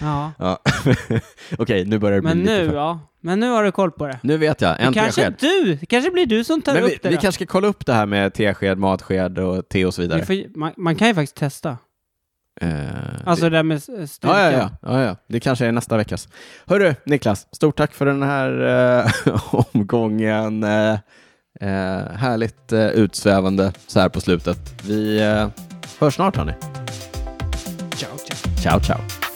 Ja.
Ja. (laughs) Okej, nu börjar det bli
Men
lite
nu
för...
ja. Men nu har du koll på det.
Nu vet jag, en
Men kanske
tesked.
du, det kanske blir du som tar
Men vi,
upp det
vi
då.
kanske ska kolla upp det här med tesked, matsked och te och så vidare.
Vi får, man, man kan ju faktiskt testa.
Eh,
Alltså
det...
det där med s- eh, styrkan.
Ja, ja, ja, ja, ja. Det kanske är nästa veckas. Hörru, Niklas, stort tack för den här eh, (laughs) omgången. Eh, eh, härligt eh, utsvävande så här på slutet. Vi eh, hörs snart, hörni.
Ciao, ciao.
Ciao, ciao.